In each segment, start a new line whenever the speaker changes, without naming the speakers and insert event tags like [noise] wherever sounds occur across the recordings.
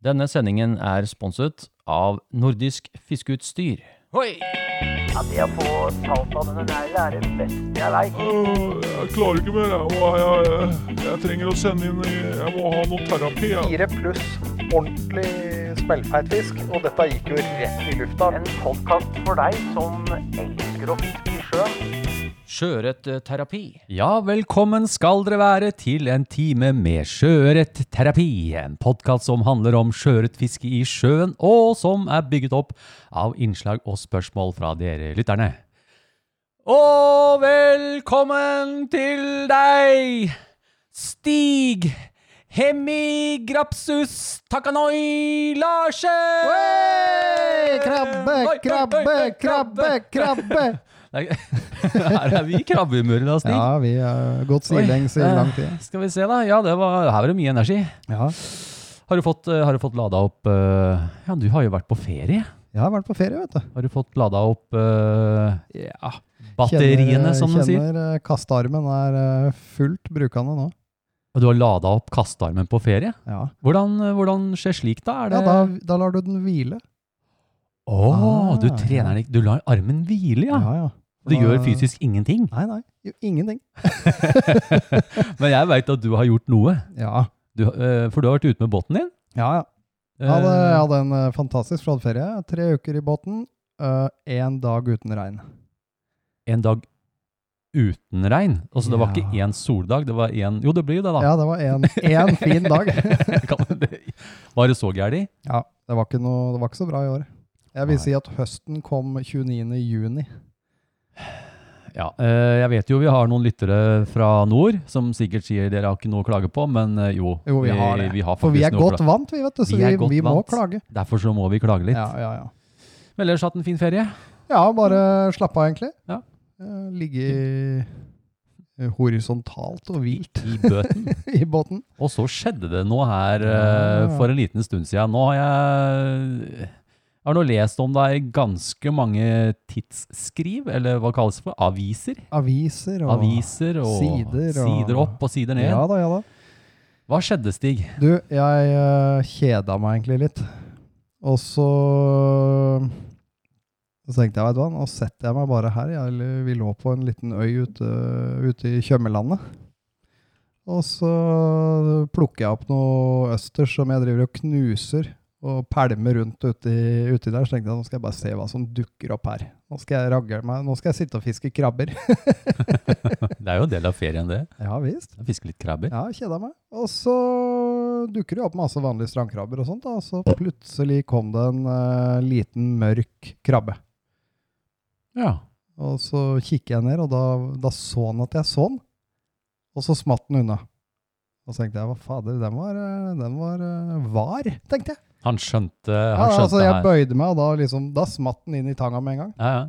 Denne sendingen er sponset av Nordisk Fiskeutstyr. Hoi!
Det å få talt av denne neglen er det beste jeg veit.
Øh, Jeg klarer ikke mer. Jeg, må, jeg, jeg, jeg trenger å sende inn i- Jeg må ha noe terapi. Jeg.
Fire pluss ordentlig smellfeit fisk, og dette gikk jo rett i lufta.
En podkast for deg som elsker å fiske i sjøen.
eh,
Sjøørretterapi. Ja, velkommen skal dere være til en time med sjøørretterapi. En podkast som handler om sjøørretfiske i sjøen, og som er bygget opp av innslag og spørsmål fra dere lytterne. Og velkommen til deg, Stig Hemigrapsus Takanoi Larsen! Oi, oi, oi,
Krabbe, krabbe, krabbe, krabbe!
Nei, [laughs] Her er vi i krabbehumøret da, Stig.
Ja, vi har gått sidelengs i
Oi, eh,
lang tid.
Skal vi se, da. Ja, det var, her var det mye energi.
Ja,
Har du fått, eh, har du fått lada opp eh, Ja, du har jo vært på ferie.
jeg har vært på ferie, vet du.
Har du fått lada opp eh, ja, batteriene,
Kjenner-
som de sier?
Kjenner eh, kastearmen er eh, fullt brukende nå.
Og du har lada opp kastearmen på ferie?
Ja,
Hvordan, eh, hvordan skjer slik, da? Er
ja
det
da, da lar du den hvile.
Å, du
Ah,
trener den ikke Du lar armen hvile, ja?
ja.
Du
Da-
gjør fysisk ingenting?
Nei, nei. Jo, ingenting.
Men jeg veit at du har gjort noe.
Ja.
Du, eh, for du har vært ute med båten din.
Ja, ja.
Eh,
Jeg hadde, jeg hadde en eh, fantastisk flott ferie. Tre uker i båten, én dag uten regn.
en dag uten regn. Altså, det var ikke
Ja.
én soldag, det var én Jo, det blir jo det, da.
Ja, det var
[laughs]
en- én fin dag. [laughs]
Kan man det? var det så gærent?
Ja, det var, ikke noe, det var ikke så bra i år. Jeg vil
Nei.
si at høsten kom 29. juni.
Ja. eh, Jeg vet jo vi har noen lyttere fra nord som sikkert sier dere har ikke noe å klage på, men eh, jo.
Jo, vi har det.
Vi har
For vi er
faktisk noe å
godt
klage-
vant, vi, vet du, så
Vi
vi,
er
vi,
godt
må
vant.
klage.
Derfor så må vi klage litt.
Ja, ja, ja.
Men ellers hatt en fin ferie.
ja, bare slappe av, egentlig.
Ja.
Eh, Ligge i- eh, horisontalt og vilt
I Bøten.
[laughs] i båten.
Og så skjedde det noe her
Ja.
eh, for en liten stund siden. Nå har jeg, jeg har nå lest om deg i ganske mange tidsskriv, eller hva kalles det for? Aviser.
Aviser og
Aviser og
sider og-
sider opp og sider ned.
Ja da, ja da.
Hva skjedde, Stig?
Du, jeg eh, kjeda meg egentlig litt. Og så, så tenkte jeg, vet du hva, nå setter jeg meg bare her. Jeg, eller vi lå på en liten øy ute, ute i Tjømmelandet. Og så plukker jeg opp noe østers som jeg driver og knuser og pælmer rundt uti, uti der. Så tenkte jeg, nå skal jeg bare se hva som dukker opp her. Nå skal jeg ragle meg, nå skal jeg sitte og fiske krabber. [laughs]
Det er jo en del av ferien, det.
Ja, visst.
Fiske litt krabber.
Ja, kjeda meg. Og så dukker det jo opp masse vanlige strandkrabber og sånt, da. og så plutselig kom det en eh, liten mørk krabbe.
Ja.
Og så kikker jeg ned, og da, da så han at jeg så den. Og så smatt den unna. Og så tenkte jeg, hva fader, den var, eh, den var eh, var, tenkte jeg.
Han skjønte,
Ja,
han skjønte
altså, jeg
her.
bøyde meg, og da, liksom, da smatt den inn i tanga med en gang.
Ja, ja.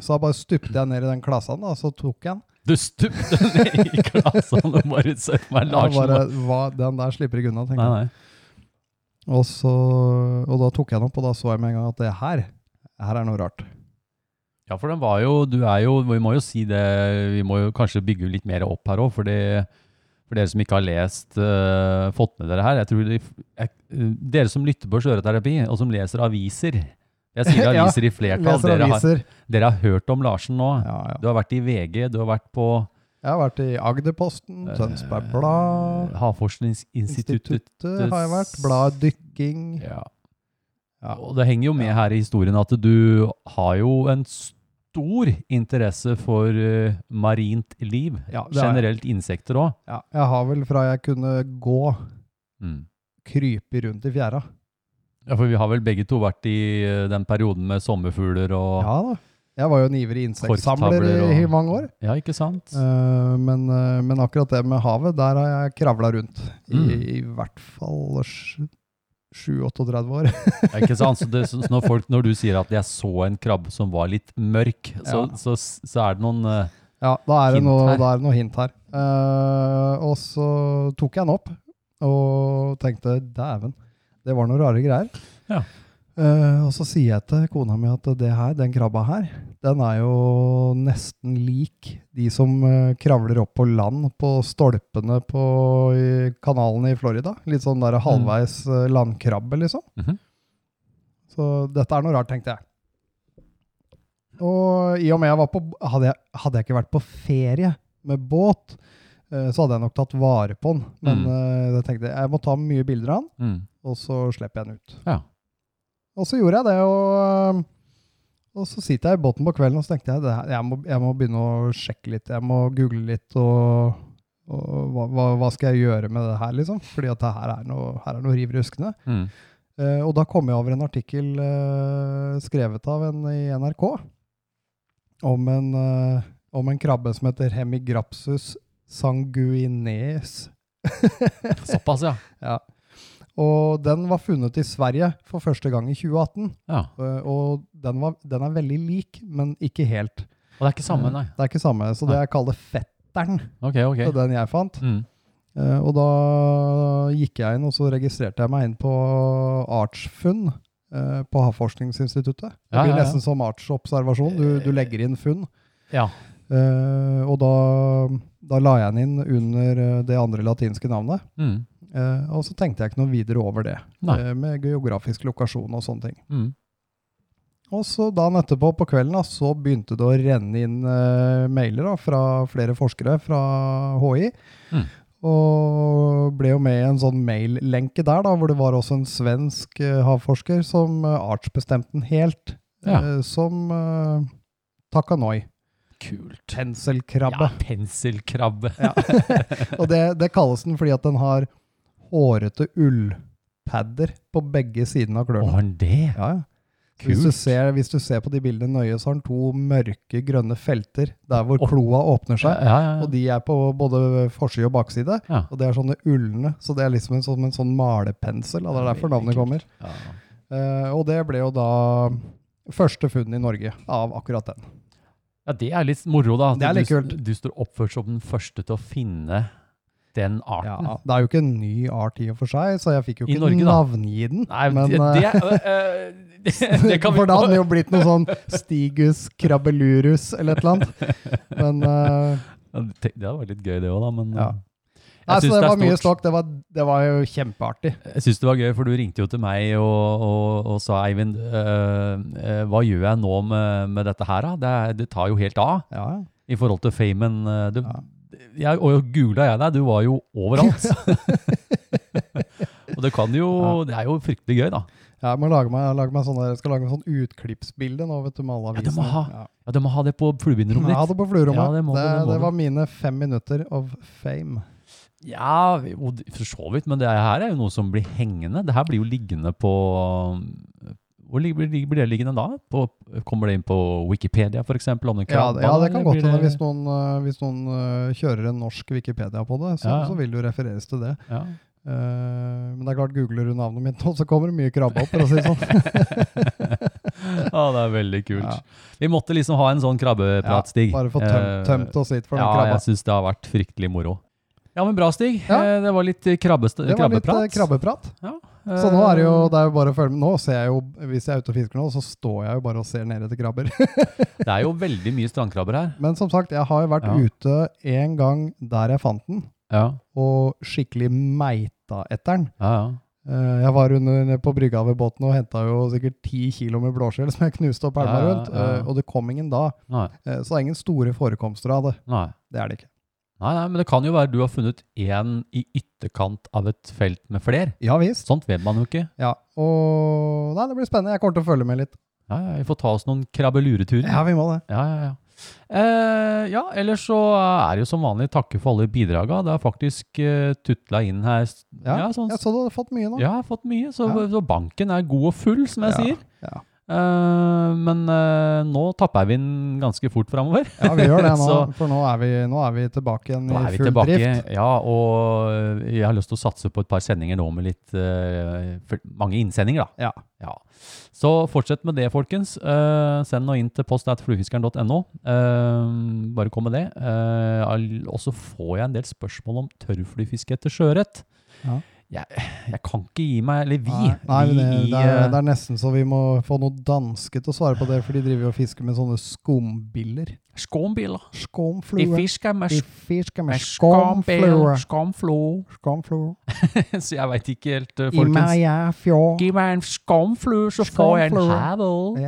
Så da bare stupte jeg ned i den klassen, da, og så tok jeg den.
Du stupte [laughs] ned i klassen og bare søk meg
Jeg
Larsen.
bare, hva, den der slipper ikke unna, tenkte
nei,
jeg.
nei.
Og, så, og da tok jeg den opp, og da så jeg med en gang at det her, her er noe rart.
Ja, for den var jo, du er jo, vi må jo si det, vi må jo kanskje bygge litt mer opp her også, fordi for dere som ikke har lest, eh, fått med dere her, jeg tror de, jeg, eh, dere som lytter på sjøreterapi, og som leser aviser, jeg
[laughs]
sier
Ja,
aviser i flertall,
Leser
dere har,
aviser.
dere har hørt om Larsen nå.
Ja, ja.
Du har vært i VG, du har vært på
Jeg har vært i Agderposten,
Eh,
Tønsberg Blad,
Havforskningsinstituttet.
Instituttet har jeg vært, Bladet Dykking.
Ja.
Ja.
Og det henger jo med her i historien at du har jo en stor interesse for eh, marint liv.
Ja, det har jeg.
Generelt insekter òg.
Ja, jeg har vel fra jeg kunne gå, krype rundt i fjæra.
Mm. Ja, for vi har vel begge to vært i eh, den perioden med sommerfugler og
Ja da. Jeg var jo en ivrig insektsamler i,
Korktavler og-
i mange år.
Ja, ikke sant?
Eh, men, eh, men akkurat det med havet, der har jeg kravla rundt. I,
Mm.
I hvert fall 7-38 år.
Ja, ikke sant? Så, det, så når, folk, når du sier at 'jeg så en krabbe som var litt mørk', så,
Ja.
så, så, er det noen eh,
Ja, da er det
Hint
noe,
her.
da er det noe hint her. Eh, og så tok jeg den opp og tenkte dæven, det var noen rare greier.
Ja.
Eh, Eh, og så sier jeg til kona mi at det her, den krabba her, den er jo nesten lik de som eh, kravler opp på land på stolpene på i kanalene i Florida. Litt sånn der halvveis eh, landkrabbe, liksom.
Mm. Mhm.
Så dette er noe rart, tenkte jeg. Og i og med jeg var på Hadde jeg, hadde jeg ikke vært på ferie med båt, eh, så hadde jeg nok tatt vare på den. Men
Mm.
eh, jeg tenkte jeg må ta mye bilder av den,
Mm.
og så slipper jeg den ut.
Ja.
Og så gjorde jeg det, og, eh, og så sitter jeg i båten på kvelden og så tenkte jeg, det her, jeg, må, jeg må begynne å sjekke litt, jeg må google litt, og, og hva, hva- hva skal jeg gjøre med det her, liksom? Fordi at det her er noe, her er noe riv ruskende.
Mm.
Eh, og da kom jeg over en artikkel eh, skrevet av en i NRK om en, eh, om en krabbe som heter Hemigrapsus sanguineus.
Såpass, ja.
Ja. Og den var funnet i Sverige for første gang i 2018.
ja.
Eh, Og den, var, den er veldig lik, men ikke helt.
Og det er ikke samme, nei.
Det er ikke samme, så det jeg kaller fetteren,
Ok, ok.
er den jeg fant.
Mm.
Eh, Og da gikk jeg inn, og så registrerte jeg meg inn på Artsfunn eh, på Havforskningsinstituttet. Det
Ja,
blir
ja, ja.
nesten som artsobservasjon. Du, du legger inn funn.
Ja.
Eh, og da, da la jeg den inn under eh, det andre latinske navnet.
Mm.
Eh, og så tenkte jeg ikke noe videre over det,
Nei.
eh, med geografisk lokasjon og sånne ting.
Mm.
Og så dagen etterpå på kvelden da, så begynte det å renne inn eh, mailer da, fra flere forskere fra HI.
Mm.
Og ble jo med i en sånn maillenke der, da, hvor det var også en svensk eh, havforsker som eh, artsbestemte den helt,
Ja.
eh, som eh, takanoi,
Kult.
penselkrabbe.
Ja, penselkrabbe.
[laughs] Og det, det kalles den fordi at den har hårete ullpadder på begge sidene av
Å,
klørne.
har den det?
Ja, ja. Så Hvis du,
Kult.
ser, hvis du ser på de bildene nøye, så har den to mørke, grønne felter der hvor
Opp-
kloa
Ja,
åpner seg.
ja, ja.
Og de er på både forside og bakside.
Ja.
Og det er sånne ulne, så det er liksom en sånn, en sånn malepensel. og Det er derfor navnet kommer.
Ja.
Eh, og det ble jo da første funn i Norge av akkurat den.
ja, det er litt moro, da. at
Det er litt
du,
kult.
Du står oppført som den første til å finne den arten.
Ja, det er jo ikke en ny art i og for seg, så jeg fikk jo
I
ikke
Norge, da.
navngi den.
Nei,
men,
det,
eh,
det, øh, øh, [laughs]
[laughs]
det, det kan vi
For da hadde det jo blitt noe sånn Stigus krabbelurus eller et eller annet.
[laughs]
Men eh,
Ja, det- Det hadde vært litt gøy, det òg, da. Men
Ja.
øh,
Nei,
jeg
så
syns
det,
det, er
var mye
stort.
stokk. Det var, det var jo kjempeartig.
Jeg synes det var gøy, for du ringte jo til meg og, og, og sa Eivind, øh, øh, hva gjør jeg nå med, med dette her, da? Det, er- det tar jo helt av
Ja,
i forhold til famen. øh, Du,
Ja.
jeg, og googla jeg deg, du var jo
[laughs]
overalt. [laughs] og det kan jo Det er jo fryktelig gøy, da.
jeg må lage meg, lage meg sånne, jeg skal lage meg sånn utklippsbilde nå, vet du, med alle
Ja, det
avisene.
må ha. Ja, Du må ha det på fluebinderrommet
Ja,
ditt.
det på fluerommet.
Ja, det
det,
må du,
det,
det må du.
var mine fem minutter of fame.
Ja, vi- jo, det- for så vidt, men det her er jo noe som blir hengende. Det her blir jo liggende på um, Hvor ligger- blir blir det liggende da? På, kommer det inn på Wikipedia, f.eks.? Om den
Ja,
krabba?
det- ja, det kan
eller
godt
blir
hende.
det-
Hvis noen, øh, hvis noen øh, kjører en norsk Wikipedia på det, så,
Ja, ja.
så vil det jo refereres til det.
Ja.
Eh, men det er klart, googler du navnet mitt nå, så kommer det mye krabbe opp, for å si det sånn.
[laughs] ja, det er veldig kult.
Ja.
Vi måtte liksom ha en sånn
Ja,
krabbeprat, Stig.
bare få tømt,
Eh,
tømt oss litt for den
Ja,
krabba.
jeg syns det har vært fryktelig moro. Ja, men bra, Stig.
Ja.
Eh, Det var litt eh, krabbest-
Det var litt
krabbeprat.
eh, krabbeprat.
Eh,
Så nå er det jo, det er jo bare å følge med. Nå ser jeg jo, hvis jeg er ute og fisker nå, så står jeg jo bare og ser ned etter krabber. [laughs]
det er jo veldig mye strandkrabber her.
Men som sagt, jeg har jo vært
Ja.
ute en gang der jeg fant den,
Ja,
og skikkelig meita etter den.
ja, ja.
Eh, Jeg var under, nede på brygga ved båten og henta jo sikkert ti kilo med blåskjell som jeg knuste opp elva
Ja, ja,
rundt,
ja.
eh, og det kom ingen da.
Nei,
Eh, Så det er ingen store forekomster av det.
nei.
Det er det ikke.
Nei, nei, men det kan jo være du har funnet én i ytterkant av et felt med flere.
Ja visst.
Sånt vet man jo ikke.
Ja, og Nei, det blir spennende. Jeg kommer til å følge med litt.
Ja, ja, vi får ta oss noen krabbelureturer.
Ja, vi må det.
Ja, ja, ja. Eh, ja, ellers så er det jo som vanlig takke for alle bidraga. Det er faktisk eh, tutla inn her. s-
Ja,
ja, sånn,
Jeg så du hadde fått mye nå.
ja, jeg har fått mye. Så,
Ja.
så banken er god og full, som jeg
Ja,
sier.
ja.
Eh, men eh, nå tapper vi den ganske fort framover.
Ja, vi
[laughs]
gjør det nå,
Så-
for nå er vi, nå er vi tilbake igjen
Nå er
i
vi
full
tilbake.
drift.
Ja, og jeg har lyst til å satse på et par sendinger nå med litt eh, for- mange innsendinger, da.
Ja.
Så fortsett med det, folkens. Eh, send noe inn til post.fluefiskeren.no. Eh, bare kom med det. Eh, all- og så får jeg en del spørsmål om tørrflyfiske etter sjøørret.
Ja.
Jeg, jeg kan ikke gi meg Eller vi.
Nei, nei, men
vi
det,
i,
det, er,
eh,
det er nesten så vi må få noen danske til å svare på det, for de driver jo og fisker med sånne skumbiler.
Skombiler. De
Skumflue.
fisker med,
De
sk-
fisker med
med skombil,
skumflue.
skomflo.
Skumflue.
[laughs] Så jeg veit ikke helt, eh,
I
folkens.
meg er fjord.
Gi meg en skomflu, så får jeg en
Skomflue.
havel. [laughs]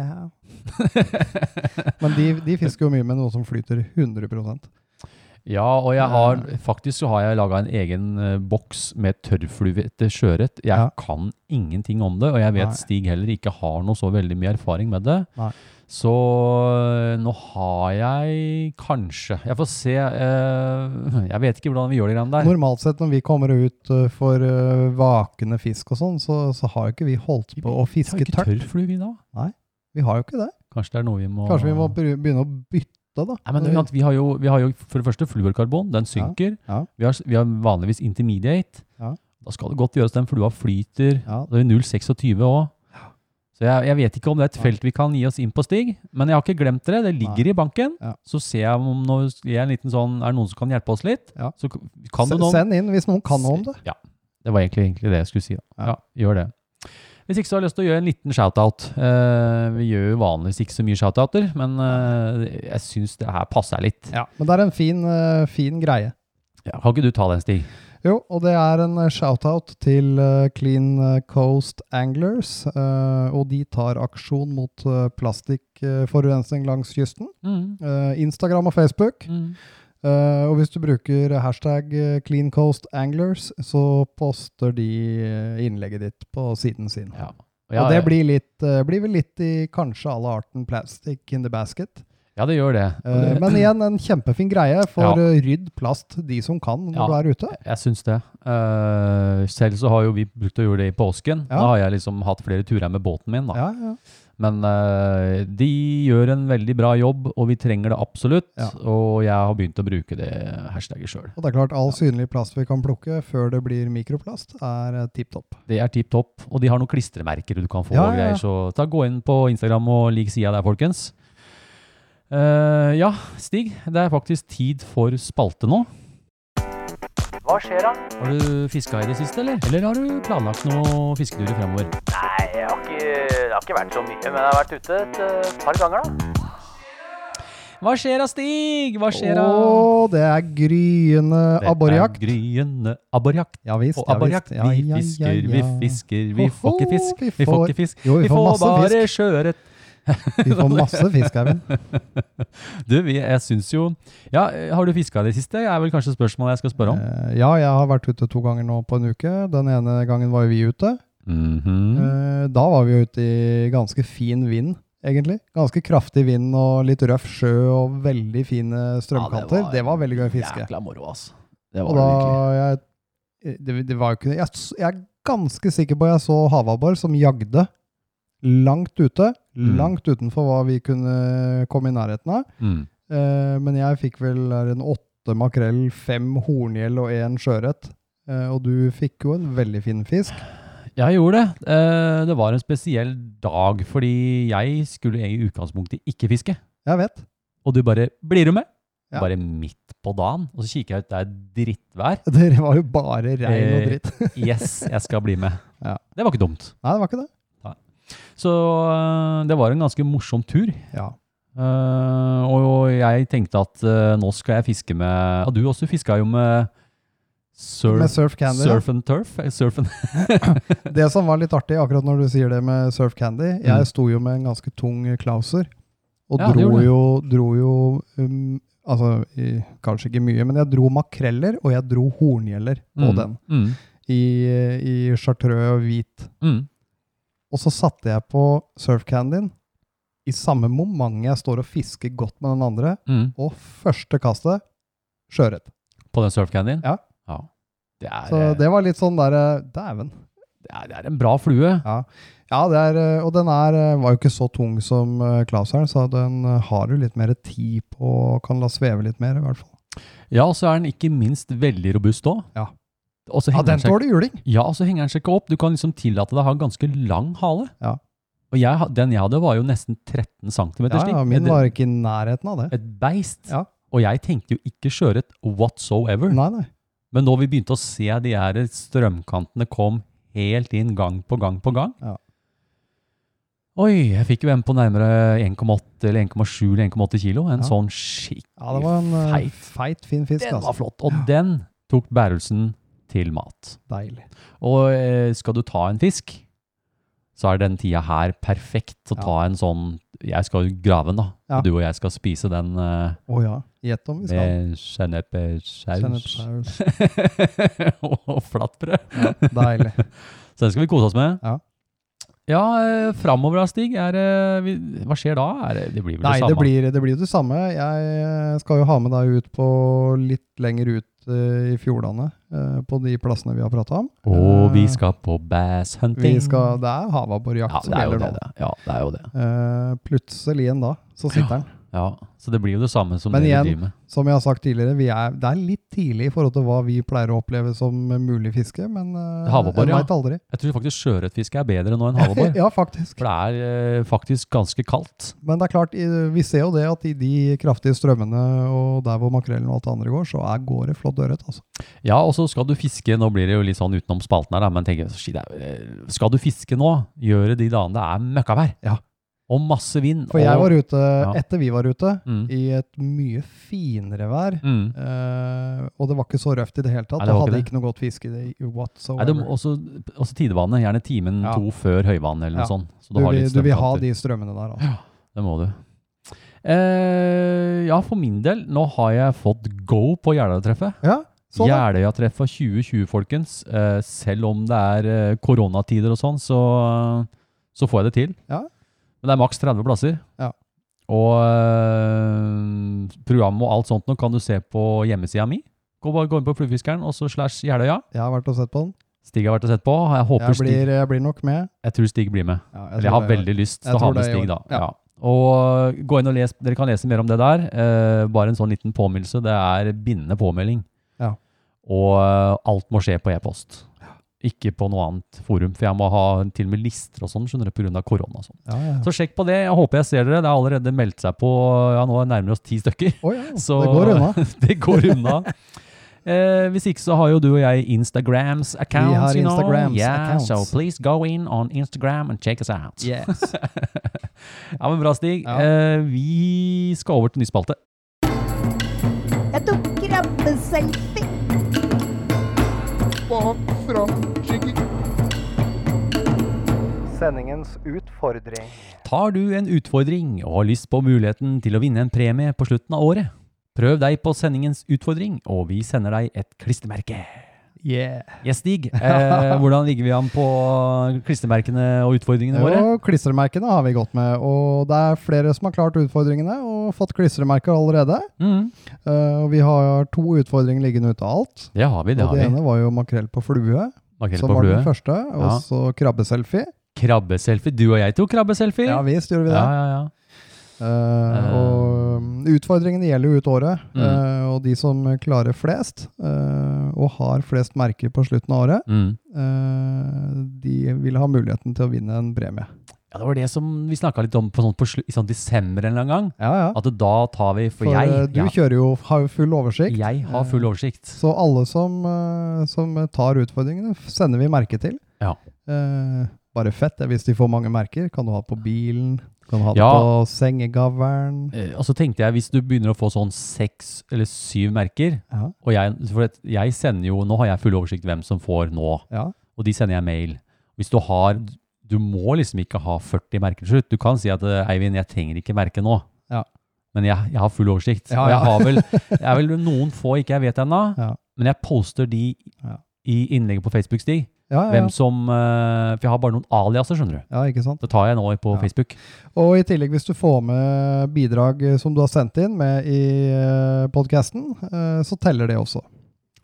Ja. Men de, de fisker jo mye med noe som flyter 100
Ja, og jeg har faktisk så har jeg laga en egen eh, boks med tørrflue til sjøørret. Jeg
Ja.
kan ingenting om det, og jeg vet
Nei.
Stig heller ikke har noe så veldig mye erfaring med det.
Nei.
Så eh, nå har jeg kanskje Jeg får se. eh, jeg vet ikke hvordan vi gjør de greiene der.
Normalt sett når vi kommer ut uh, for uh, vakende fisk og sånn, så, så har jo ikke vi holdt på
Vi
å
har
fiske
ikke
tørt.
tørrflue vi da?
Vi har jo ikke det.
Kanskje det er noe vi må
Kanskje vi må bry- begynne å bytte, da.
Nei, men uansett, vi, har jo, vi har jo for det første fluorkarbon, den synker.
ja.
Vi, har, vi har vanligvis intermediate.
Ja.
Da skal det godt gjøres den flua flyter.
Ja,
Det er jo 0,26 òg. Så jeg, jeg vet ikke om det er et
Nei.
felt vi kan gi oss inn på, Stig. Men jeg har ikke glemt dere. Det ligger i banken.
Ja.
Så ser jeg om nå gir jeg en liten sånn, er det noen som kan hjelpe oss litt.
Ja.
Så k- kan du
se-
noe om-
Send inn hvis noen kan noe om det.
Ja. Det var egentlig, egentlig det jeg skulle si. Da. Ja.
Ja.
gjør det. Hvis ikke så har jeg lyst til å gjøre en liten shoutout. Eh, vi gjør jo vanligvis ikke så mye shoutouter, men eh, jeg syns det her passer litt.
Men det er en fin, uh, fin greie.
Ja, kan ikke du ta den, Stig?
Jo, og det er en uh, shout-out til uh, Clean Coast Anglers. uh, Og de tar aksjon mot uh, plastikkforurensning langs kysten. Uh, Instagram og Facebook.
Mm.
Eh, og hvis du bruker hashtag eh, Clean Coast Anglers, så poster de eh, innlegget ditt på siden sin.
Ja.
og det blir, litt, eh, blir vel litt i kanskje alle arten plastic in the basket.
ja, det gjør det.
Eh, men igjen, en kjempefin greie for
Ja.
eh, rydd plast de som kan når
Ja.
du er ute.
Jeg syns det. Eh, selv så har jo vi brukt å gjøre det i påsken.
Ja.
Da har jeg liksom hatt flere turer med båten min, da.
Ja, ja.
Men eh, de gjør en veldig bra jobb, og vi trenger det absolutt.
Ja.
Og jeg har begynt å bruke det hashtagget sjøl.
Og det er klart, all synlig plast vi kan plukke før det blir mikroplast, er eh, tipp topp.
Det er tipp topp. Og de har noen klistremerker du kan få.
Ja,
og
ja, ja.
greier, så ta, gå inn på Instagram og lik sida der, folkens. Eh, ja, Stig. Det er faktisk tid for spalte nå.
Hva skjer da?
Har du fiska i det siste, eller? Eller har du planlagt noen fisketurer fremover?
Nei, jeg har ikke, det har ikke vært så mye, men jeg har vært ute et eh, par ganger da.
Hva skjer da, Stig? Hva skjer da?
Og det er gryende abborjakt.
Det er gryende abborjakt.
Ja visst.
Og
ja
abborjakt,
visst. Ja,
vi
ja, ja,
fisker, vi
ja.
fisker, vi får ikke
Hoho,
fisk,
vi
vi får
får-
ikke fisk.
Jo, vi får masse
bare
fisk.
sjøørret.
Vi
[laughs]
får masse fisk, Eivind.
Du, vi, jeg syns jo Ja, har du fiska i det siste? er vel kanskje spørsmålet jeg skal spørre om.
Eh, Ja, jeg har vært ute to ganger nå på en uke. Den ene gangen var jo vi ute.
Mhm.
Eh, Da var vi jo ute i ganske fin vind, egentlig. Ganske kraftig vind og litt røff sjø og veldig fine
Ja,
strømkanter. det, var veldig gøy å fiske.
Jækla moro, altså. Det var
Og
det
da
virkelig.
jeg, det, det var jo ikke jeg, s- jeg er ganske sikker på jeg så havabbor som jagde langt ute.
Mm.
Langt utenfor hva vi kunne komme i nærheten av.
Mm.
Eh, men jeg fikk vel der en åtte makrell, fem horngjell og én sjøørret. Eh, og du fikk jo en veldig fin fisk.
Jeg gjorde det. Eh, Det var en spesiell dag, fordi jeg skulle i utgangspunktet ikke fiske.
Jeg vet. [laughs]
Og du bare 'Blir du med?'
Ja.
Bare midt på dagen. Og så kikker jeg ut, det er drittvær.
Dere var jo bare regn og
Eh,
dritt.
Yes, jeg skal bli med.
[laughs] Ja.
Det var ikke dumt.
Nei, det var ikke det.
Så øh, det var en ganske morsom tur.
Ja.
Eh, og, og jeg tenkte at eh, nå skal jeg fiske med Og du også fiska jo med surf,
Med Surf Candy.
surf and turf? eh, Surf and,
ja. Det som var litt artig, akkurat når du sier det med Surf Candy
Mm.
Jeg sto jo med en ganske tung eh, klauser, og
Ja, det
dro,
gjorde du.
jo, dro jo um, Altså, i, kanskje ikke mye, men jeg dro makreller, og jeg dro horngjeller på
Mm,
den.
Mm,
I, I chartreux og hvit.
mm.
Og så satte jeg på surfcandyen i samme moment jeg står og fisker godt med den andre,
Mm.
og første kastet sjøørret.
På den surfcannyen?
Ja.
ja. Det, er,
Så
det,
det var litt sånn der eh, Dæven.
er, det er en bra flue.
Ja, det er, eh, og den er, eh, var jo ikke så tung som eh, Klauseren, så den eh, har jo litt mer tid på og kan la sveve litt mer, i hvert fall.
Ja, og så er den ikke minst veldig robust òg.
Ja.
Og så
Ja,
henger den
den
seg
tåler juling!
Ja, og så henger den seg ikke opp. Du kan liksom tillate deg å ha en ganske lang hale.
Ja.
Og jeg, ha- den jeg hadde var jo nesten 13 cm
Ja, ja, min var ikke i nærheten av det.
Et beist.
Ja.
Og jeg tenkte jo ikke sjøørret whatsoever.
Nei, nei.
Men når vi begynte å se de her strømkantene kom helt inn gang på gang på gang
Ja.
Oi, jeg fikk jo en på nærmere 1,8 eller 1,7 eller 1,8 kilo. En
Ja.
sånn skikkelig
Ja, det var en eh,
feit.
feit, fin fisk.
Den var
Altså.
flott. Og den tok bærelsen til mat.
Deilig.
Og eh, skal du ta en fisk, så er den tida her perfekt å
Ja.
ta en sånn Jeg skal jo grave den, da.
Ja.
Og du og jeg skal spise den eh,
Å ja. Gjett om vi skal.
med sennepsaus
Sennepsaus.
[laughs] og flatbrød.
Ja, deilig.
[laughs] Så den skal vi kose oss med.
Ja.
Ja, eh, framover da, Stig. Er, eh, vi, hva skjer da? Er, det- det blir vel
Nei,
det
det
samme?
blir, det blir jo det samme. Jeg eh, skal jo ha med deg ut på litt lenger ut eh, i fjordene, eh, på de plassene vi har prata om.
Og vi
Eh,
skal på bass
vi
hunting.
skal, Det er
ja,
havabborjakt
det
som
er jo
gjelder
det,
nå.
det. ja, det er jo det.
Eh, plutselig en da, så sitter den.
Ja, Så det blir jo det samme som
Men
det
igjen,
vi driver med.
Som jeg har sagt tidligere, vi er, det er litt tidlig i forhold til hva vi pleier å oppleve som mulig fiske, men uh,
Havabbor, ja.
veit aldri.
Jeg tror faktisk sjøørretfiske er bedre
[laughs]
nå enn havabbor.
Ja, faktisk.
For det er eh, faktisk ganske kaldt.
Men det er klart, i- vi ser jo det at i de kraftige strømmene og der hvor makrellen og alt det andre går, så er, går det flott ørret. Altså.
Ja, og så skal du fiske, nå blir det jo litt sånn utenom spalten her, da, men tenker, jeg, shit, det er, eh, skal du fiske nå, gjør det de dagene det er møkkavær.
Ja.
Og masse vind.
For jeg
og,
var ute,
Ja.
etter vi var ute,
Mm.
i et mye finere vær,
Mm.
eh, og det var ikke så røft i det hele tatt.
Nei, det
det
var
hadde
ikke det.
ikke noe godt fiske i det
Nei, det
whatsoever.
må også, også tidevannet, gjerne timen
Ja.
to før høyvannet eller
Ja.
noe sånt. Så
Du,
du, har
vil-
litt
du vil ha
strømkanter.
de strømmene der, altså.
Det må du. Eh, ja, for min del, nå har jeg fått go på Jeløya-treffet.
Ja, sånn ja.
Jeløya-treffet 2020, folkens. Eh, selv om det er eh, koronatider og sånn, så, så får jeg det til.
Ja.
Men det er maks 30 plasser.
Ja.
Og eh, program og alt sånt nå kan du se på hjemmesida mi. Gå, bare gå inn på Fluefiskeren og så slash Jeløya.
Jeg har vært og sett på den.
Stig har vært og sett på. Jeg, håper
Jeg
Stig,
blir, jeg blir nok med.
jeg tror Stig blir med.
Ja,
Eller jeg
tror
har
det-
veldig lyst til
Jeg
å ha
tror
med
det i
Stig, da.
år. Ja.
Ja. Og gå inn og les, Dere kan lese mer om det der. Eh, bare en sånn liten påminnelse. Det er bindende påmelding.
Ja.
Og eh, alt må skje på e-post. Ikke på noe annet forum, for jeg må ha til og med lister og sånn skjønner du, pga. korona. og sånn.
Ja, ja.
Så sjekk på det. Jeg håper jeg ser dere. Det er allerede meldt seg på ja, nå nærmer vi oss ti stykker. [laughs]
Å ja,
Så-
det går unna.
det går unna. Eh, hvis ikke så har jo du og jeg Instagrams accounts.
har
you know.
Instagrams
yeah,
accounts.
So please go in on Instagram and check us out.
[laughs] Yes.
Ja, men bra, Stig.
Ja.
Eh, vi skal over til ny spalte.
Jeg tok krabbeselfie.
Bak fram, skygge. Sendingens utfordring.
Tar du en utfordring og har lyst på muligheten til å vinne en premie på slutten av året? Prøv deg på sendingens utfordring, og vi sender deg et klistremerke.
Yeah.
Yes, [laughs] Stig. Eh, hvordan ligger vi an på klistremerkene og utfordringene våre?
Og klistremerkene har vi gått med, og det er flere som har klart utfordringene og fått klistremerker allerede.
Mm.
Eh, og vi har to utfordringer liggende ute av alt.
Det har vi, det
og
har
det
vi.
ene var jo makrell på flue,
Makrell
som
på
var den
flue.
første. Og
Ja.
så krabbeselfie.
Krabbeselfie. Du og jeg tok krabbeselfie.
Ja visst gjorde vi det.
ja, ja, ja.
Eh,
Eh.
og mm, utfordringene gjelder jo ut året.
Mm.
eh, og de som klarer flest, eh, og har flest merker på slutten av året,
Mm.
eh, de vil ha muligheten til å vinne en premie.
ja. Det var det som vi snakka litt om på, sånn, på slu, i sånn desember en eller annen gang.
Ja, ja.
At da tar vi For,
For eh,
jeg,
du
ja,
kjører jo, har jo full oversikt.
jeg har full oversikt.
Så alle som, eh, som tar utfordringene, f- sender vi merke til.
Ja.
Eh, bare fett det, hvis de får mange merker. Kan du ha det på bilen? Kan du ha det
Ja.
på sengegavlen?
Eh, Og så tenkte jeg, hvis du begynner å få sånn seks eller syv merker,
Ja.
og jeg, for at jeg sender jo, nå har jeg full oversikt hvem som får nå,
ja.
og de sender jeg mail. Hvis du har, du må liksom ikke ha 40 merker til slutt. Du kan si at, eh, Eivind, jeg trenger ikke merke nå.
Ja.
Men jeg, jeg har full oversikt.
Ja,
og jeg
ja.
har
[laughs]
vel, jeg er vel noen få ikke jeg vet ennå,
Ja.
men jeg poster de
Ja.
i innlegget på Facebook, Stig.
Ja, ja, ja.
Hvem som, eh, for jeg har bare noen aliaser, skjønner du.
ja, ikke sant?
Det tar jeg nå på
Ja.
Facebook.
Og i tillegg, hvis du får med bidrag eh, som du har sendt inn med i podkasten, så teller det også.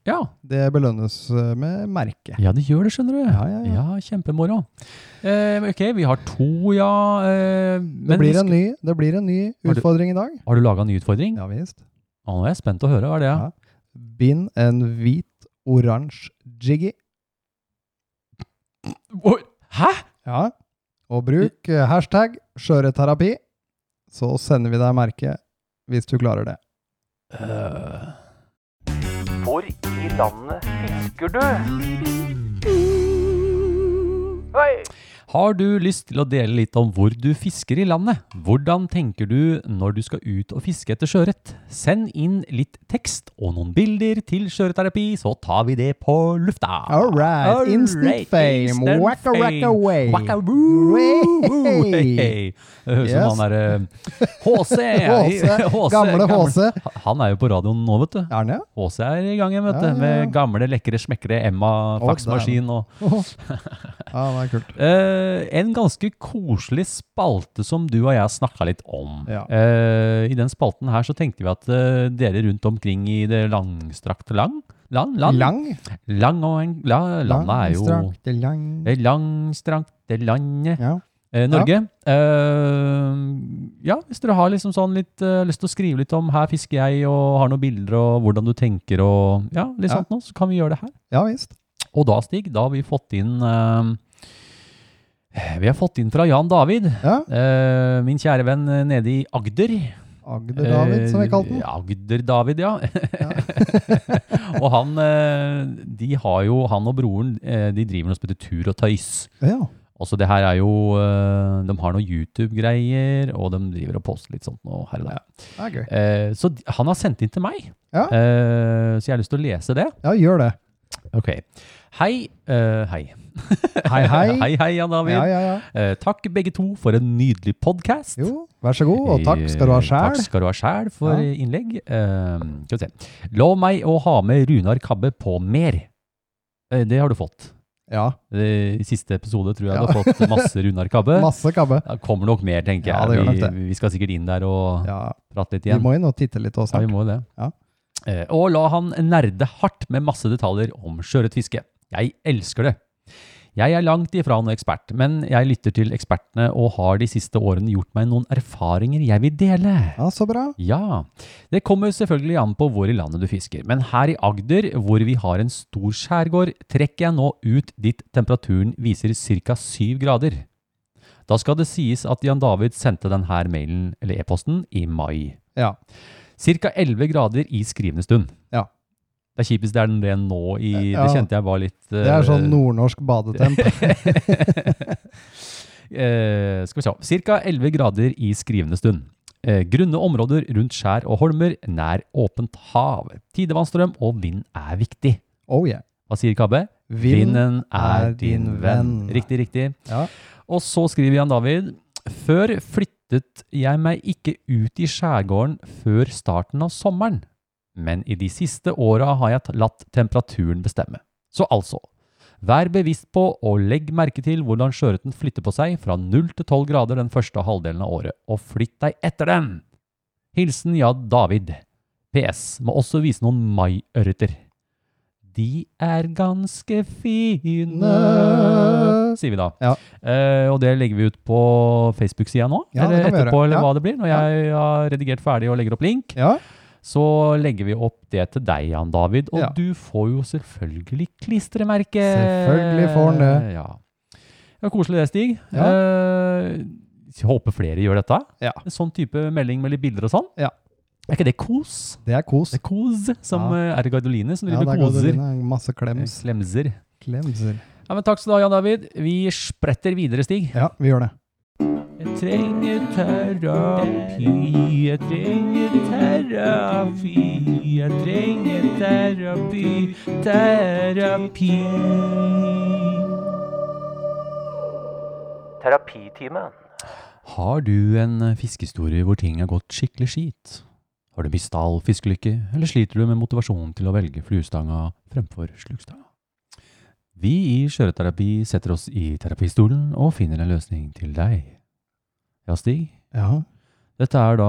Ja,
Det belønnes eh, med merke.
Ja, det gjør det, skjønner du.
Ja, ja, ja.
kjempemoro. Eh, ok, vi har to, ja. Eh,
Det
men vi
blir,
sk-
en ny, det blir en ny
Har du-
utfordring i dag.
Har du laga en ny utfordring?
Ja visst.
Å, nå er jeg spent å høre. Hva er det?
Ja. Bind en hvit, oransje jiggy.
Oi, Hæ?
Ja. Og bruk eh, hashtag skjøreterapi, så sender vi deg merke hvis du klarer det.
Eh,
hvor i landet fisker du? Oi!
Har du lyst til å dele litt om hvor du fisker i landet? Hvordan tenker du når du skal ut og fiske etter sjøørret? Send inn litt tekst og noen bilder til Sjøørretterapi, så tar vi det på lufta.
All right, instant fame, wacka, wacka, way.
Wacka, woo, woo,
Way.
hey. Det høres ut
Yes.
som han eh, derre
[laughs]
HC. [laughs]
HC, gamle HC.
Han er jo på radioen nå, vet du.
Er den det?
HC er i gang igjen, vet du.
Ja, ja, ja.
Med gamle, lekre, smekkere Emma-faksmaskin og
Ja, det er kult.
Eh, en ganske koselig spalte som du og jeg snakka litt om.
Ja.
Eh, I den spalten her så tenkte vi at eh, dere rundt omkring i det langstrakte lang Land? land
Lang?
Lang og en, la, landet er jo
Langstrakte lang.
det langstrakte landet
Ja.
eh, Norge. Eh, ja, hvis dere har liksom sånn litt eh, lyst til å skrive litt om 'her fisker jeg', og har noen bilder og hvordan du tenker og ja, litt
Ja.
sånt noe, så kan vi gjøre det her.
ja visst.
Og da, Stig, da har vi fått inn eh, Vi har fått inn fra Jan David,
Ja.
eh, min kjære venn eh, nede i Agder. Eh,
Agder-David, som vi kalte den.
Agder-David, ja. [laughs] og han eh, De har jo, han og broren, eh, de driver noe som heter Tur og Tøys.
Eh, Ja.
Også det her er jo eh, De har noe YouTube-greier, og de driver og poster litt sånt nå her og der.
Det er gøy.
Eh, så d- han har sendt inn til meg,
Ja.
eh, så jeg har lyst til å lese det.
Ja, gjør det.
Ok. Hei. eh, hei. [laughs]
Hei, hei.
hei, hei, Jan David.
Ja, ja, ja.
Eh, takk begge to for en nydelig podkast.
Jo, vær så god, og takk skal du ha
Eh, Takk
sjæl.
skal du ha sjæl for
Ja.
innlegg. Eh, skal vi se. La meg å ha med Runar Kabbe på mer. Eh, det har du fått.
Ja,
Eh, I siste episode tror jeg
Ja.
du har fått masse Runar Kabbe.
[laughs] masse kabbe.
Det kommer nok mer, tenker jeg.
Ja, det gjør
vi,
nok
vi skal sikkert inn der og
Ja,
prate litt
vi
igjen.
må inn og titte litt også
Ja, vi
snart.
må jo det.
Ja.
Eh, og la han nerde hardt med masse detaljer om sjøørretfiske. Jeg elsker det. Jeg er langt ifra noen ekspert, men jeg lytter til ekspertene og har de siste årene gjort meg noen erfaringer jeg vil dele.
Ja, så bra.
Ja, det kommer selvfølgelig an på hvor i landet du fisker, men her i Agder, hvor vi har en stor skjærgård, trekker jeg nå ut dit temperaturen viser ca. 7 grader. Da skal det sies at Jan David sendte denne mailen, eller e-posten, i mai.
Ja.
Cirka 11 grader i skrivende stund.
Ja.
Det er kjipest det er den det er nå i
Ja.
Det kjente jeg var litt
Det er sånn nordnorsk badetemp.
[laughs] Eh, skal vi se. Cirka 11 grader i skrivende stund. Eh, grunne områder rundt skjær og holmer, nær åpent hav. Tidevannsstrøm og vind er viktig.
Oh yeah.
Hva sier Kabbe? Vinden er din venn. Riktig, riktig.
Ja.
Og så skriver Jan David Før flyttet jeg meg ikke ut i skjærgården før starten av sommeren, men i de siste åra har jeg t- latt temperaturen bestemme. Så altså, vær bevisst på og legg merke til hvordan sjøørreten flytter på seg fra 0 til 12 grader den første halvdelen av året, og flytt deg etter den! Hilsen Jad David. PS. Må også vise noen maiørreter. De er ganske fine, sier vi da.
Ja.
Eh, og det legger vi ut på Facebook-sida nå,
Ja, det
eller
kan vi
etterpå,
gjøre.
eller
Ja.
hva det blir. Når
Ja.
jeg har redigert ferdig og legger opp link,
Ja.
så legger vi opp det til deg, Jan David. Og
Ja.
du får jo selvfølgelig klistremerke.
Selvfølgelig får han det.
Ja. Det var koselig det, Stig.
Ja.
Eh, jeg håper flere gjør dette.
Ja.
En sånn type melding med litt bilder og sånn.
Ja.
Er ikke det kos?
Det er kos.
Det er kos, som
Ja.
eh, er Gardoline, som
Ja,
driver
det er
med koser.
Gaudalina. Masse klems.
Klemser.
Klemser.
Ja, men takk skal du ha, Jan David. Vi spretter videre, Stig.
Ja, vi gjør det.
Jeg trenger terapi, jeg trenger terapi, jeg trenger terapi, terapi.
Terapitimen.
Har du en eh, fiskehistorie hvor ting har gått skikkelig skit? Har du mista all fiskelykke, eller sliter du med motivasjonen til å velge fluestanga fremfor slugstanga? Vi i Skjøreterapi setter oss i terapistolen og finner en løsning til deg. Ja, Stig?
Ja,
Dette er da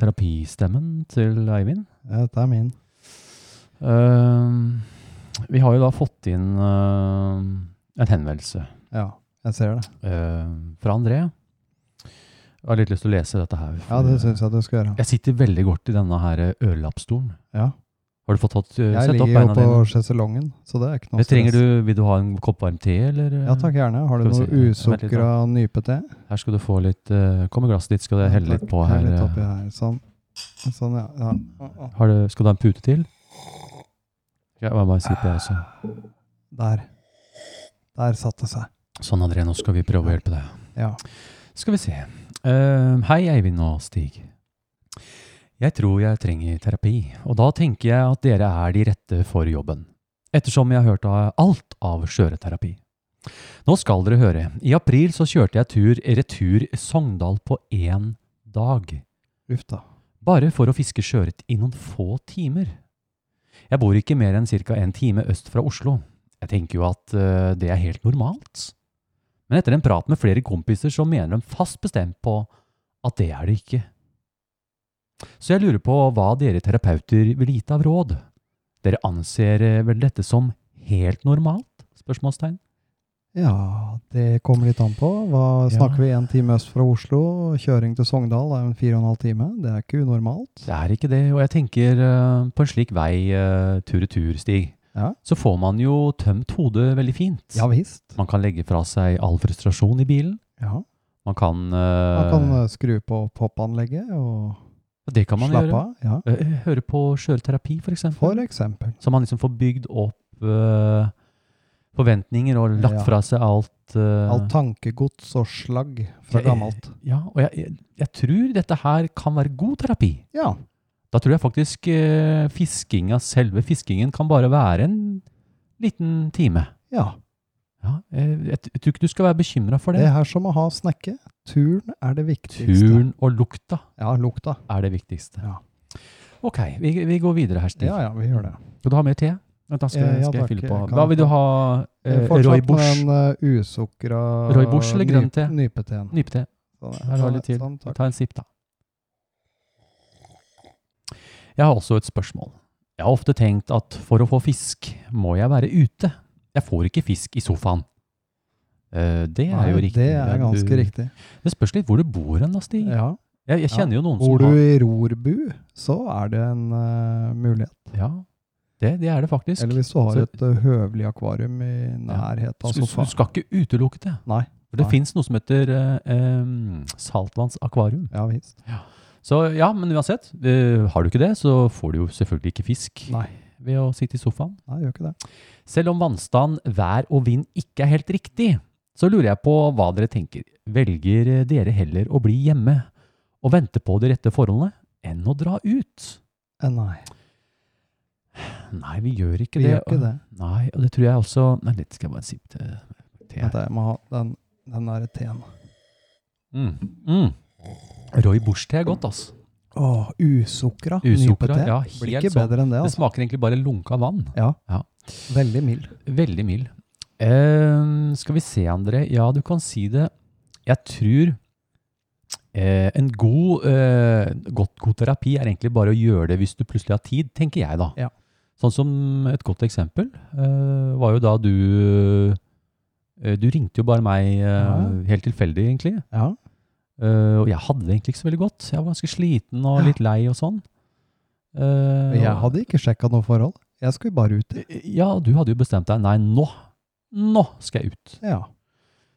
terapistemmen til Eivind.
dette er min.
Ehm, vi har jo da fått inn ehm, en henvendelse
Ja, jeg ser det.
ehm, fra André. Jeg har litt lyst til å lese dette her. eh,
Ja, det syns jeg du skal gjøre.
Jeg sitter veldig godt i denne her ørelappstolen.
Ja.
Har du fått tatt, eh,
Jeg
sett opp
ligger jo
beina
på
dine?
sjeselongen, så det er ikke noe
Det trenger du, vil du ha en kopp varm te, eller? eh,
Ja takk, gjerne. Har du
Skal vi
noe
se. Vent litt da.
usukra nypete?
Her skal du få litt eh, Kom med glasset ditt, skal jeg helle litt på her.
Hell litt
eh.
oppi her. Sånn. Sånn, ja. ja.
Har du, skal du ha en pute til? Jeg må bare altså. sippe, jeg også.
Der. Der satt det seg.
Sånn, André, nå skal vi prøve å hjelpe deg.
Ja.
Skal vi se. Eh, hei, Eivind og Stig. Jeg tror jeg trenger terapi, og da tenker jeg at dere er de rette for jobben. Ettersom jeg har hørt av alt av skjøreterapi. Nå skal dere høre. I april så kjørte jeg tur retur Sogndal på én dag.
Uff da.
Bare for å fiske sjøørret i noen få timer. Jeg bor ikke mer enn ca. en time øst fra Oslo. Jeg tenker jo at eh, det er helt normalt. Men etter en prat med flere kompiser så mener de fast bestemt på at det er det ikke. Så jeg lurer på hva dere terapeuter vil gitt av råd. Dere anser eh, vel dette som helt normalt? Spørsmålstegn.
Ja, det kommer litt an på. Hva
Ja.
Snakker vi en time øst fra Oslo, kjøring til Sogndal er en fire og en halv time. Det er ikke unormalt.
Det er ikke det, og jeg tenker eh, på en slik vei eh, tur-retur-stig,
Ja.
så får man jo tømt hodet veldig fint.
Ja visst.
Man kan legge fra seg all frustrasjon i bilen.
Ja.
Man kan,
Man
eh,
kan eh, skru på popanlegget og
Det kan man
slappe
gjøre.
av. Ja.
Eh, Høre på skjøreterapi, for eksempel.
For eksempel.
Så man liksom får bygd opp eh, forventninger og lagt
Ja.
fra seg alt. eh,
Alt tankegods og slagg fra
Ja, eh,
gammelt.
ja, og jeg, jeg, jeg tror dette her kan være god terapi.
Ja.
Da tror jeg faktisk eh, fiskinga, selve fiskingen, kan bare være en liten time.
Ja.
Ja, eh, jeg, t- jeg tror ikke du skal være bekymra for
Det
det.
er som å ha snekke. Turen er det viktigste.
Turen og lukta
Ja, lukta.
er det viktigste.
Ja.
Ok, vi, vi går videre her, Stig.
Ja, ja, vi gjør det.
Skal du ha mer te? Vent, da skal,
Eh, ja,
skal jeg
takk.
fylle på.
Jeg kan
Hva vil du ha?
Eh,
Eh, Roy
Fortsatt
Bush?
med den uh, usukra
Roy Bush eller grønn te?
Nypeten.
Nypete.
Sånn,
Her har du litt til.
Sånn, takk.
Ta en sipp, da. Jeg har også et spørsmål. Jeg har ofte tenkt at for å få fisk, må jeg være ute. Jeg får ikke fisk i sofaen. Eh, det er jo
Nei,
riktig.
Det er ganske
Du-
riktig.
Det spørs litt hvor du bor hen, da, Stig.
Ja.
Jeg, jeg kjenner jo noen som
Bor du
har
i rorbu, så er det en eh, mulighet.
Ja, det, det er det faktisk.
Eller hvis du har
Så-
et eh, høvelig akvarium i nærhet av
Du- du
sofaen.
skal ikke utelukke det.
Nei.
For det
Nei.
fins noe som heter eh, em, saltvannsakvarium.
Ja visst.
Så ja, men uansett. eh, har du ikke det, så får du jo selvfølgelig ikke fisk
Nei.
ved å sitte i sofaen.
Nei, gjør ikke det.
Selv om vannstand, vær og vind ikke er helt riktig, så lurer jeg på hva dere tenker. Velger dere heller å bli hjemme og vente på de rette forholdene, enn å dra ut?
Eh, nei,
Nei, vi gjør ikke
vi
det.
gjør ikke det.
Nei, og det tror jeg også Nei, litt skal jeg bare si til til
Vent,
jeg.
jeg må ha den, den derre teen.
Mm. Mm. Roy Bush-te er godt, altså.
Å, usukra.
Usukra,
nypete.
ja,
Blir
helt
ikke
sånn.
bedre enn det,
Det
altså.
smaker egentlig bare lunka vann.
Veldig mild.
Veldig mild. Eh, skal vi se, André. Ja, du kan si det. Jeg tror eh, en god, eh, godt, god terapi er egentlig bare å gjøre det hvis du plutselig har tid, tenker jeg da.
Ja.
Sånn som et godt eksempel eh, var jo da du eh, Du ringte jo bare meg eh,
Ja.
helt tilfeldig, egentlig.
Ja.
Eh, og jeg hadde det egentlig ikke så veldig godt. Jeg var ganske sliten og
Ja.
litt lei og sånn. Eh,
Jeg
og-
hadde ikke sjekka noe forhold. Jeg skulle bare ut.
Ja, du hadde jo bestemt deg. Nei, nå! Nå skal jeg ut.
Ja.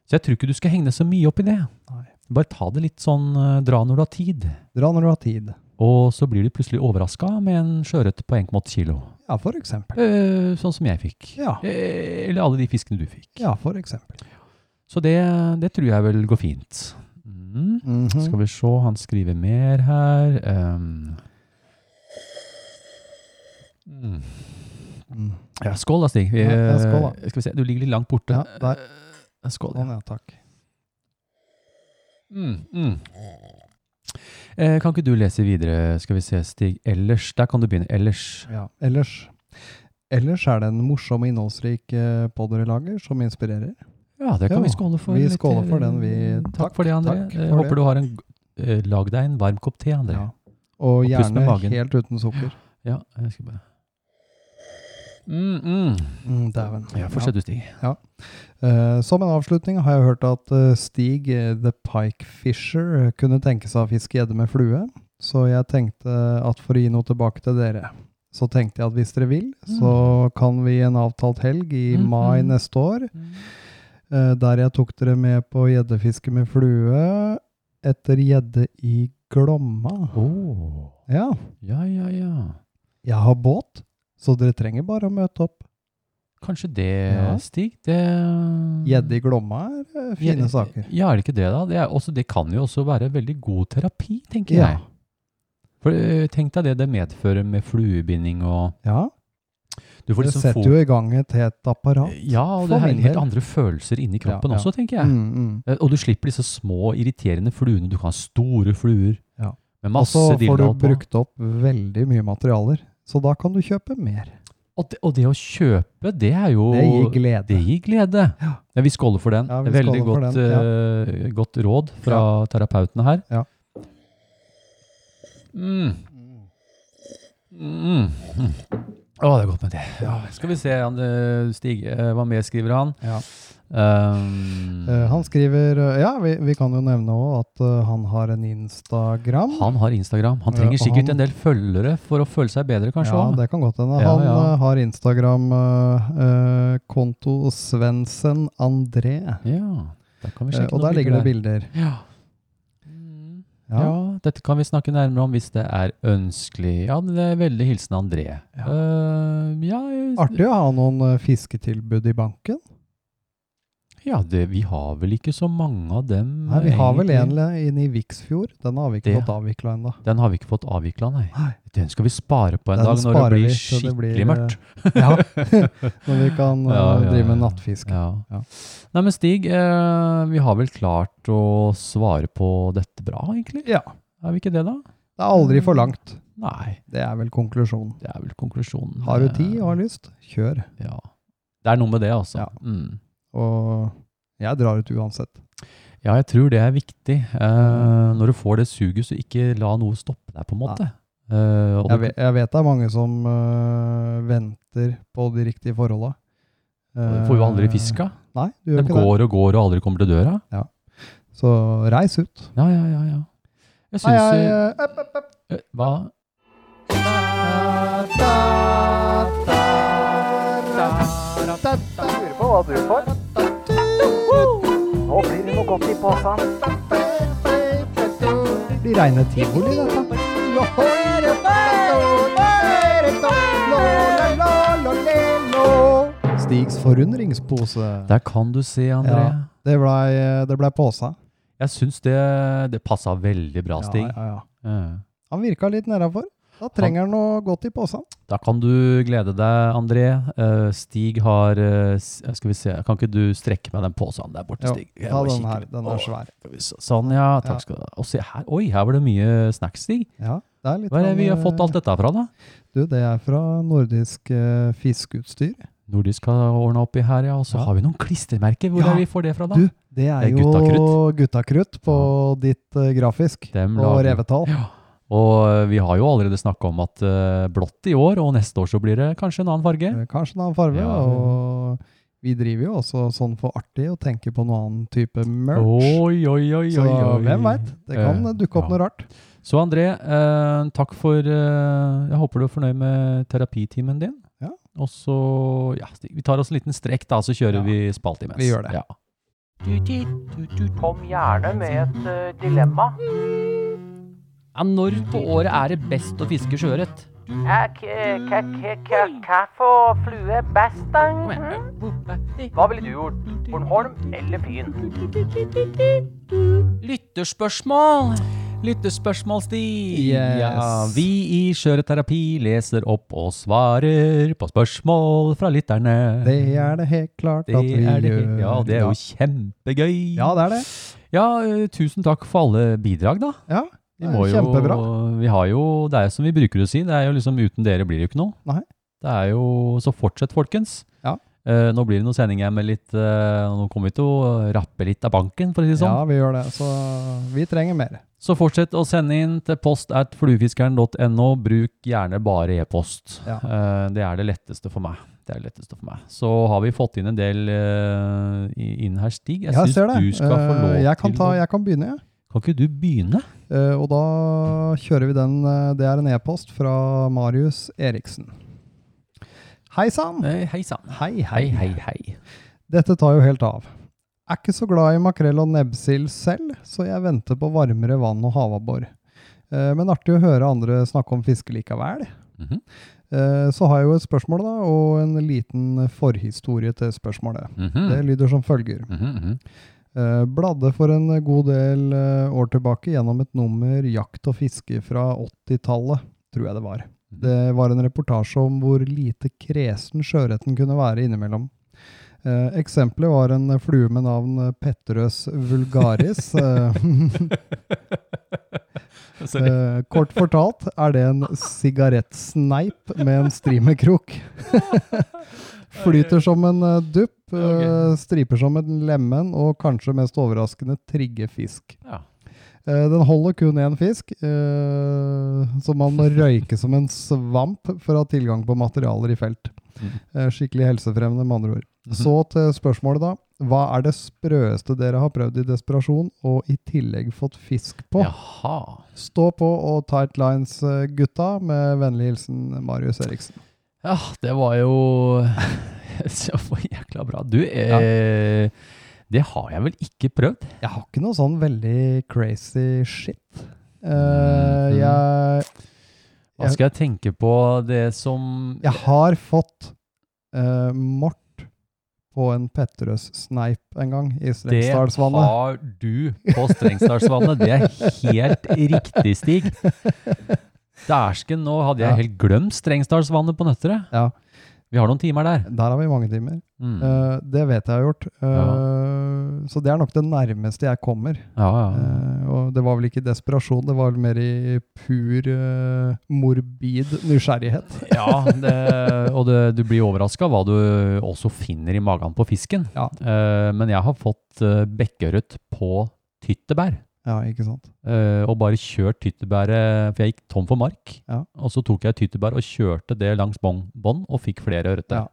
Så jeg tror ikke du skal henge deg så mye opp i det.
Nei.
Bare ta det litt sånn eh, dra når du har tid.
Dra når du har tid.
Og så blir du plutselig overraska med en sjøørret på 1,8 kilo.
Ja, for eksempel.
Eh, sånn som jeg fikk.
Ja.
Eh, eller alle de fiskene du fikk.
Ja, for eksempel.
Så det, det tror jeg vel går fint. Mm.
Mhm.
Skal vi se, han skriver mer her. Ehm. Mm.
Mm.
Ja, skål da, Stig. Vi,
Ja, ja, skål da.
eh, Skal vi se, du ligger litt langt borte.
Ja, der.
Eh, Skål. ja.
Sånn, ja, takk.
Mm, mm. Eh, kan ikke du lese videre, skal vi se, Stig? Ellers, der kan du begynne. Ellers.
Ja. Ellers Ellers er det en morsom og innholdsrik eh, podd dere lager, som inspirerer.
Ja, det kan
Ja,
vi skåle for.
vi
litt,
skåler for
eh,
den, vi-
Takk,
takk,
for det, André.
takk
Eh,
for
håper
det.
du har en g- eh, Lag deg en varm kopp te, André.
Ja.
Ja, Og
Og,
pust med
gjerne
magen.
helt uten sukker.
jeg skal bare mm, mm.
Mm, Dæven.
Ja, fortsett du, Stig.
Eh, som en avslutning har jeg hørt at eh, Stig eh, the Pike Fisher eh, kunne tenke seg å fiske gjedde med flue, så jeg tenkte at for å gi noe tilbake til dere, så tenkte jeg at hvis dere vil, så kan vi en avtalt helg i
Mm. Mhm.
mai neste år, eh, der jeg tok dere med på gjeddefiske med flue etter gjedde i Glomma.
Åh.
Ja,
Ja, ja, ja.
jeg har båt, Så dere trenger bare å møte opp.
Kanskje det,
Ja.
Stig? Det
Gjedde i Glomma er eh, fine
Ja,
saker.
Ja, er det ikke det, da? Det, er også, det kan jo også være veldig god terapi, tenker
Ja.
jeg. For eh, Tenk deg det det medfører med fluebinding og
Ja,
Du får Eh,
det
liksom
setter jo i gang et helt apparat.
Ja, og det
For
er
min
helt
del.
andre følelser inni kroppen
ja.
også, tenker jeg.
Mm, mm.
Eh, Og du slipper disse små, irriterende fluene. Du kan ha store fluer
Ja.
med
Og
masse
så får du
dilldall på.
brukt opp veldig mye materialer, så da kan du kjøpe mer.
Og det, og det å kjøpe, det er jo
Det gir glede.
Det gir glede.
Ja.
Ja, vi skåler for den.
Ja, vi
Veldig
skåler for
godt,
den,
eh, godt råd fra terapeutene her.
Ja.
Mm. Mm. Mm. Å, det er godt med det. Ja, skal vi se, han, eh, Stig, eh, hva mer skriver han?
Ja.
Um,
Eh, han skriver eh, Ja, vi, vi kan jo nevne òg at eh, han har en Instagram.
han har Instagram. Han
Ja,
trenger
og
sikkert
han-
en del følgere for å føle seg bedre, kanskje.
Ja,
også.
det kan godt hende.
Ja,
Han
ja.
eh, har eh, Instagram-konto Svensen André.
ja, der kan vi
Eh,
sjekke
og
noen
der ligger det
bilder.
bilder.
Ja. Ja.
Ja.
dette kan vi snakke nærmere om hvis det er ønskelig. Ja, det er veldig hilsen André.
Ja.
Eh, ja, jeg-
Artig å ha noen eh, fisketilbud i banken.
Ja, det, vi har vel ikke så mange av dem.
Nei, vi har vel
egentlig.
en le- inne i Viksfjord. Den har vi ikke
Det-
fått avvikla
[laughs]
ennå.
Den har vi ikke fått avvikla, nei.
Nei.
Den skal vi spare på en
Den
dag når
sparer
det blir
vi til
skikkelig
det blir, eh,
mørkt.
Ja. [laughs] Når vi kan eh,
Ja, ja,
drive med
ja.
nattfiske.
Ja.
Ja.
Nei, men Stig, eh, vi har vel klart å svare på dette bra, egentlig?
Ja.
Er vi ikke det, da?
Det er aldri for langt.
Nei,
Det er vel konklusjonen.
det er vel konklusjonen.
Har du
Eh,
tid og har lyst, kjør.
Ja. Det er noe med det, altså.
Ja.
Mm.
Og jeg drar ut uansett.
Ja, jeg tror det er viktig. Eh,
Mm.
når du får det suget, så ikke la noe stoppe deg, på en måte. Eh, og
Jeg
du-
vet, jeg vet det er mange som øh, venter på de riktige forholda.
du får jo aldri fiska.
Nei,
De
du gjør ikke det.
går og går og aldri kommer til døra.
Så reis ut.
Ja, ja, ja. ja. Jeg
Hei,
syns
hei,
eh,
eh, øpp, øpp, øpp.
eh, Hva?
Lurer på hva du får.
Nå blir det noe godt i posen.
Blir reine tivoli, dette. Stigs forundringspose.
Der kan du se, André.
Ja. Det blei det ble påsa.
Jeg syns det, det passa veldig bra, Stig.
Ja, ja, ja.
Eh,
Han virka litt nedafor. Da trenger han noe godt i posen.
Da kan du glede deg, André. Eh, Stig har eh, s- Skal vi se, kan ikke du strekke meg den posen der borte,
Jo,
Stig? Jeg
Ta
må
den
kikke
her.
litt.
Den
Åh,
er svær.
skal vi se. Sånn, ja.
Ja.
Takk skal du ha. Og se her. Oi, her var det mye snacks, Stig.
Ja, det er litt
Hva er det
sånn,
vi har
eh,
fått alt dette fra, da?
Du, det er fra nordisk eh, fiskeutstyr.
Nordisk har ordna oppi her, ja. Og så
Ja.
har vi noen klistremerker. Hvor
Ja.
er vi får det fra, da?
Du, det er,
Det er
jo
guttakrutt.
guttakrutt på ditt eh, grafisk
Dem
og
lager-
revetall.
Ja. Og eh, vi har jo allerede snakka om at eh, blått i år, og neste år så blir det kanskje en annen farge.
Eh, Kanskje en annen farge.
Ja.
Og vi driver jo også sånn for artig å tenke på noen annen type merch.
Oi, oi, oi,
Så
oi, oi.
hvem veit? Det kan
Eh,
eh, dukke opp
ja.
noe rart.
Så André, eh, takk for eh, Jeg håper du er fornøyd med terapitimen din.
Ja.
Og så Ja, Stig, vi tar oss en liten strekk, da, så kjører
Ja.
vi spalte imens.
Vi gjør det.
Ja.
Kom gjerne med et eh, dilemma.
Ja, når på året er det best å fiske sjøørret?
Hva for flue best, da? Hva ville du gjort? Bornholm eller Fyn?
Lytterspørsmål!
Lyttespørsmål, Stig.
Yes.
Ja, vi i Skjøreterapi leser opp og svarer på spørsmål fra lytterne.
Det er det helt klart at vi
er det.
gjør.
Ja, det er jo
Ja.
kjempegøy.
ja, det er det.
Ja, eh, tusen takk for alle bidrag, da.
Ja,
Vi
det
må
er
jo,
kjempebra.
Vi har jo, det er jo som vi bruker å si, det er jo liksom uten dere blir det jo ikke noe.
Nei.
Det er jo, så fortsett folkens.
Ja.
Eh, nå blir det noen sendinger med litt, eh, nå kommer vi til å rappe litt av banken, for å si det
Ja,
sånn.
vi gjør det. Så vi trenger mer.
Så fortsett å sende inn til post at fluefiskeren.no. Bruk gjerne bare e-post.
Ja.
Eh, det er det letteste for meg. Det er det letteste for meg. Så har vi fått inn en del eh, i- inn her, Stig. Jeg
Ja,
syns
ser det.
du skal få
Eh,
lov
jeg kan
til
ta,
å...
Jeg kan begynne, jeg.
Kan ikke du begynne?
Eh, og da kjører vi den. eh, Det er en e-post fra Marius Eriksen. Hei sann!
Eh, hei sann.
Hei,
Hei, hei, hei.
Dette tar jo helt av. Er ikke så glad i makrell og nebbsild selv, så jeg venter på varmere vann og havabbor. Eh, Men artig å høre andre snakke om fiske likevel.
Mhm.
Eh, Så har jeg jo et spørsmål, da, og en liten forhistorie til spørsmålet. Det lyder som følger. Eh, Bladde for en god del eh, år tilbake gjennom et nummer Jakt og fiske fra 80-tallet, tror jeg det var. Det var en reportasje om hvor lite kresen sjøørreten kunne være innimellom. Eh, eksempelet var en flue med navn Petterøs
[laughs]
vulgaris. Eh,
Sorry.
Eh, kort fortalt er det en sigarettsneip med en strimekrok.
[laughs]
Flyter som en eh, dupp, eh, striper som en lemen og kanskje mest overraskende trigger fisk.
Ja.
Eh, Den holder kun én fisk, eh, så man må røyke som en svamp for å ha tilgang på materialer i felt. Eh, Skikkelig helsefremmende, med andre ord.
Mhm.
Så til spørsmålet, da. Hva er det sprøeste dere har prøvd i desperasjon, og i tillegg fått fisk på?
Jaha.
Stå på og tight lines, eh, gutta. Med vennlig hilsen Marius Eriksen.
Ja, det var jo [laughs] så jækla bra. Du, eh, det har jeg vel ikke prøvd?
Jeg har ikke noe sånn veldig crazy shit. Eh,
Mhm.
jeg,
Hva skal jeg tenke på det som
jeg har fått eh, mort på en Petterøes sneip en gang
Det
i Strengsdalsvannet.
har du på Strengsdalsvannet. Det er helt riktig, Stig. Dæsken, nå hadde jeg
Ja.
helt glemt Strengsdalsvannet på Nøtterøy.
Ja.
Vi har noen timer der.
Der har vi mange timer.
Mm.
Eh, det vet jeg har gjort. Eh, Så det er nok det nærmeste jeg kommer.
Ja, ja.
Eh, og det var vel ikke desperasjon, det var vel mer i pur eh, morbid nysgjerrighet.
[laughs] ja det, og det, du blir overraska hva du også finner i magen på fisken.
Ja.
Eh, men jeg har fått eh, bekkørret på tyttebær.
Ja, ikke sant?
eh, og bare kjørt tyttebæret, for jeg gikk tom for mark.
Ja.
Og så tok jeg tyttebær og kjørte det langs bånd bånd og fikk flere ørreter.
Ja.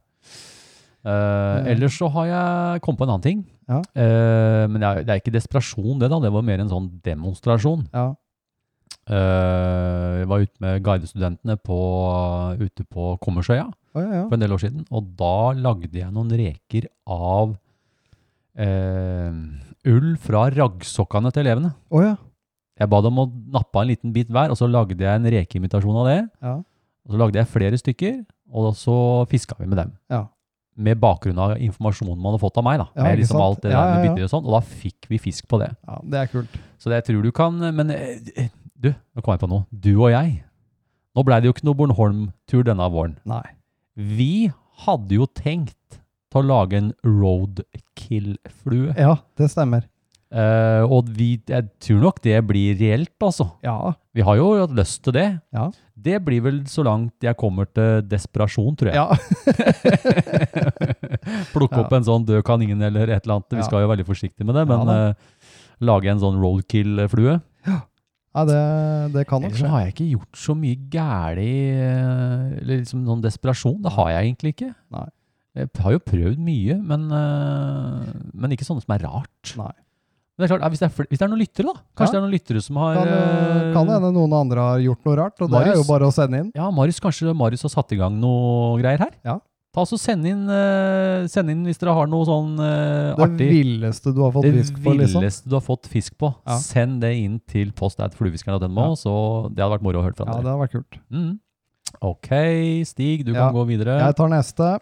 Eh, ellers så har jeg kommet på en annen ting.
Ja.
Eh, men det er, det er ikke desperasjon, det, da. Det var mer en sånn demonstrasjon.
Ja.
Eh, jeg var ute med guidestudentene på, ute på Kommersøya
Å, ja, ja.
for en del år siden, og da lagde jeg noen reker av eh, ull fra raggsokkene til elevene.
Å, ja.
Jeg ba dem å nappe en liten bit hver, og så lagde jeg en rekeimitasjon av det.
Ja.
Og så lagde jeg flere stykker, og så fiska vi med dem.
Ja.
Med bakgrunn av informasjonen man hadde fått av meg. da.
Ja,
med
ikke
liksom
sant?
alt det
Ja,
der med
ja, ja.
bytter Og sånn, og da fikk vi fisk på det.
ja, det er kult.
Så det jeg tror du kan Men eh, eh, du, nå kom jeg på noe. Du og jeg. Nå blei det jo ikke noe Bornholm-tur denne våren.
Nei.
Vi hadde jo tenkt til å lage en roadkill-flue.
Ja, det stemmer.
Eh, og vi, jeg tror nok det blir reelt, altså.
Ja.
Vi har jo hatt lyst til det.
Ja.
Det blir vel så langt jeg kommer til desperasjon, tror jeg.
Ja.
[laughs] Plukke opp en sånn død kanin eller et eller annet. Vi
Ja.
skal jo være veldig forsiktige med det,
Ja
men
da.
eh, lage en sånn roadkill-flue.
Ja, det, det kan nok
Ellers så
skje.
har jeg ikke gjort så mye gærlig, eh, eller liksom noen desperasjon. Det har jeg egentlig ikke.
Nei.
Jeg har jo prøvd mye, men, eh, men ikke sånne som er rart.
Nei.
Men det er klart, eh, hvis det er, fl- hvis det er noen lyttere, da. Kanskje det
Ja.
er noen lyttere som har
Kan,
eh,
eh, kan hende noen andre har gjort noe rart, og det er jo
Marius.
bare å sende inn.
Ja, Marius, kanskje Marius har satt i gang noe greier her?
Ja.
Ta oss og send inn, eh, send inn hvis dere har noe sånn eh,
Det
artig.
villeste du har fått
det
fisk på, liksom.
villeste du har fått fisk på.
Ja.
Send det inn til post at fluefiskeren.no,
Ja.
så det hadde vært moro å høre fra
Ja, det
dere.
har vært kult.
Mm. Ok, Stig, du
Ja.
kan gå videre.
Jeg tar neste,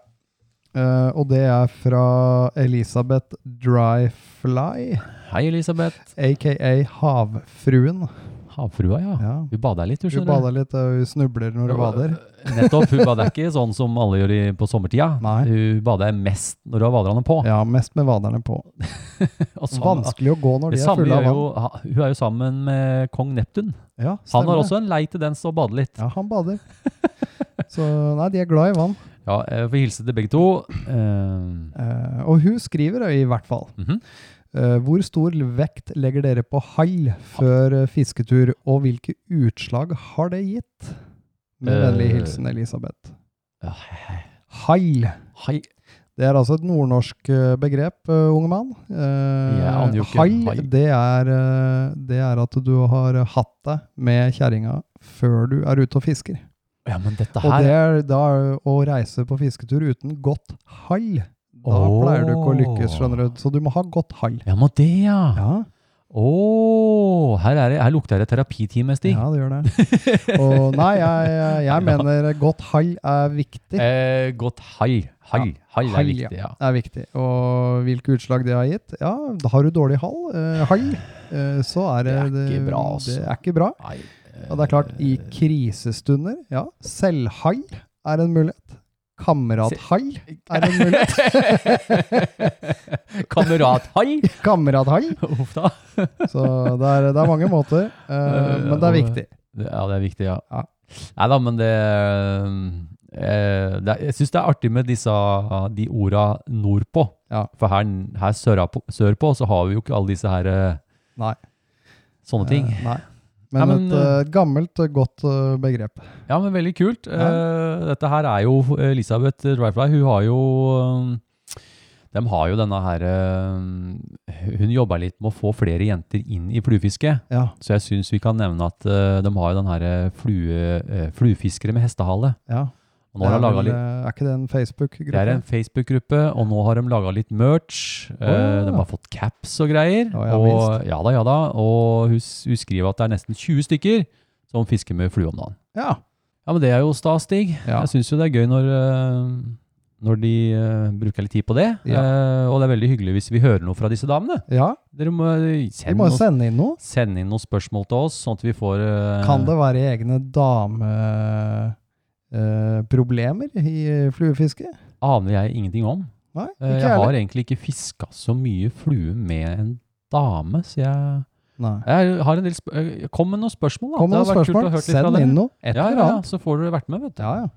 eh, og det er fra Elisabeth Dryfly,
Hei, Elisabeth.
aka Havfruen.
Havfrua, ja.
Ja.
Hun bada litt, hun
Hun
skjønner.
bader [laughs] litt, og hun snubler når hun bader.
Nettopp. Hun bada ikke sånn som alle gjør i, på sommertida.
Nei.
Hun bada mest når hun har vaderne på.
Ja, mest med vaderne på.
[laughs] Og sånn-
Vanskelig å gå når
Det
de er
samme
fulle
gjør
av
jo,
vann.
ha- hun er jo sammen med kong Neptun.
Ja,
Han
stemmer
har
det.
også en lei tendens til å bade litt.
Ja, han bader. Så nei, de er glad i vann.
Ja, jeg får hilse til begge to. Eh,
Eh, og hun skriver i hvert fall.
Mhm.
eh, hvor stor vekt legger dere på hall før eh, fisketur, og hvilke utslag har det gitt? Med
Eh.
vennlig hilsen Elisabeth.
Ja.
Hall.
hei.
Det er altså et nordnorsk eh, begrep, eh, unge mann. Eh,
Jeg aner jo ikke. Hall.
Hall, det er, eh, det er at du har hatt deg med kjerringa før du er ute og fisker.
Ja, men dette
Og det
her
er da å reise på fisketur uten godt hall. Da
Åh.
pleier du ikke å lykkes, skjønner du. Så du må ha godt hall.
Ja, må det, ja.
Ja.
Åh, her, er det, her lukter det terapitime, Stig.
Ja, det gjør det.
[laughs]
Og nei, jeg, jeg mener godt hall er viktig.
Eh, godt hall. Hall, hall er
Hall,
viktig, ja.
Det er viktig. Og hvilke utslag det har gitt? Ja, da har du dårlig hall, eh, hall, eh, så er det
Det er ikke bra, altså. Eh.
Det er ikke bra.
Nei,
Og det er klart, i krisestunder, ja, selvhall er en mulighet. Kamerathall er en mulighet.
[laughs] [laughs] Kamerat hall.
Kamerathall.
Uff da.
Så det er, det er mange måter, eh, men det er viktig.
Det- Ja, det er viktig, ja.
Ja.
Nei da, men det, eh, det er- Jeg syns det er artig med disse, de orda nordpå.
Ja.
For her, her sørpå, sørpå så har vi jo ikke alle disse her eh,
Nei.
sånne ting.
Eh, Nei. Men,
Ja, men,
et eh, gammelt, eh, godt eh, begrep.
Ja, men veldig kult. Eh, dette her er jo eh, Elisabeth Dreyfly. Hun har jo eh, De har jo denne her eh, Hun jobber litt med å få flere jenter inn i fluefiske.
Ja,
Så jeg syns vi kan nevne at eh, de har jo den her eh, flue, eh, fluefiskere med hestehale.
ja.
Og nå har de
Det er,
laget
vel,
litt,
eh, er ikke det en Facebook-gruppe?
det er en Facebook-gruppe, og nå har de laga litt merch. Eh, de
Åh.
har fått caps og greier.
Å, ja,
og, ja da, ja da. Og hun, s- hun skriver at det er nesten 20 stykker som fisker med flue om dagen.
Ja.
Ja, men det er jo stas, Stig.
Ja.
Jeg syns jo det er gøy når, eh, når de eh, bruker litt tid på det.
Ja.
Eh, og det er veldig hyggelig hvis vi hører noe fra disse damene.
ja.
Dere må
Vi
sende,
må jo
noe,
sende inn noe.
sende inn noen spørsmål til oss, sånn at vi får eh,
Kan det være egne dameproblemer i fluefiske?
Aner jeg ingenting om.
Nei,
Eh,
ikke
jeg
heller.
har egentlig ikke fiska så mye flue med en dame, så jeg,
Nei.
jeg har en del sp eh, Kom med noen spørsmål, da.
Kom med
Det
noen
hadde vært kult å
spørsmål.
høre litt fra
Send
dere.
inn noe. Et
Ja,
eller
ja, ja,
annet.
så får dere vært med, vet du.
Ja, ja.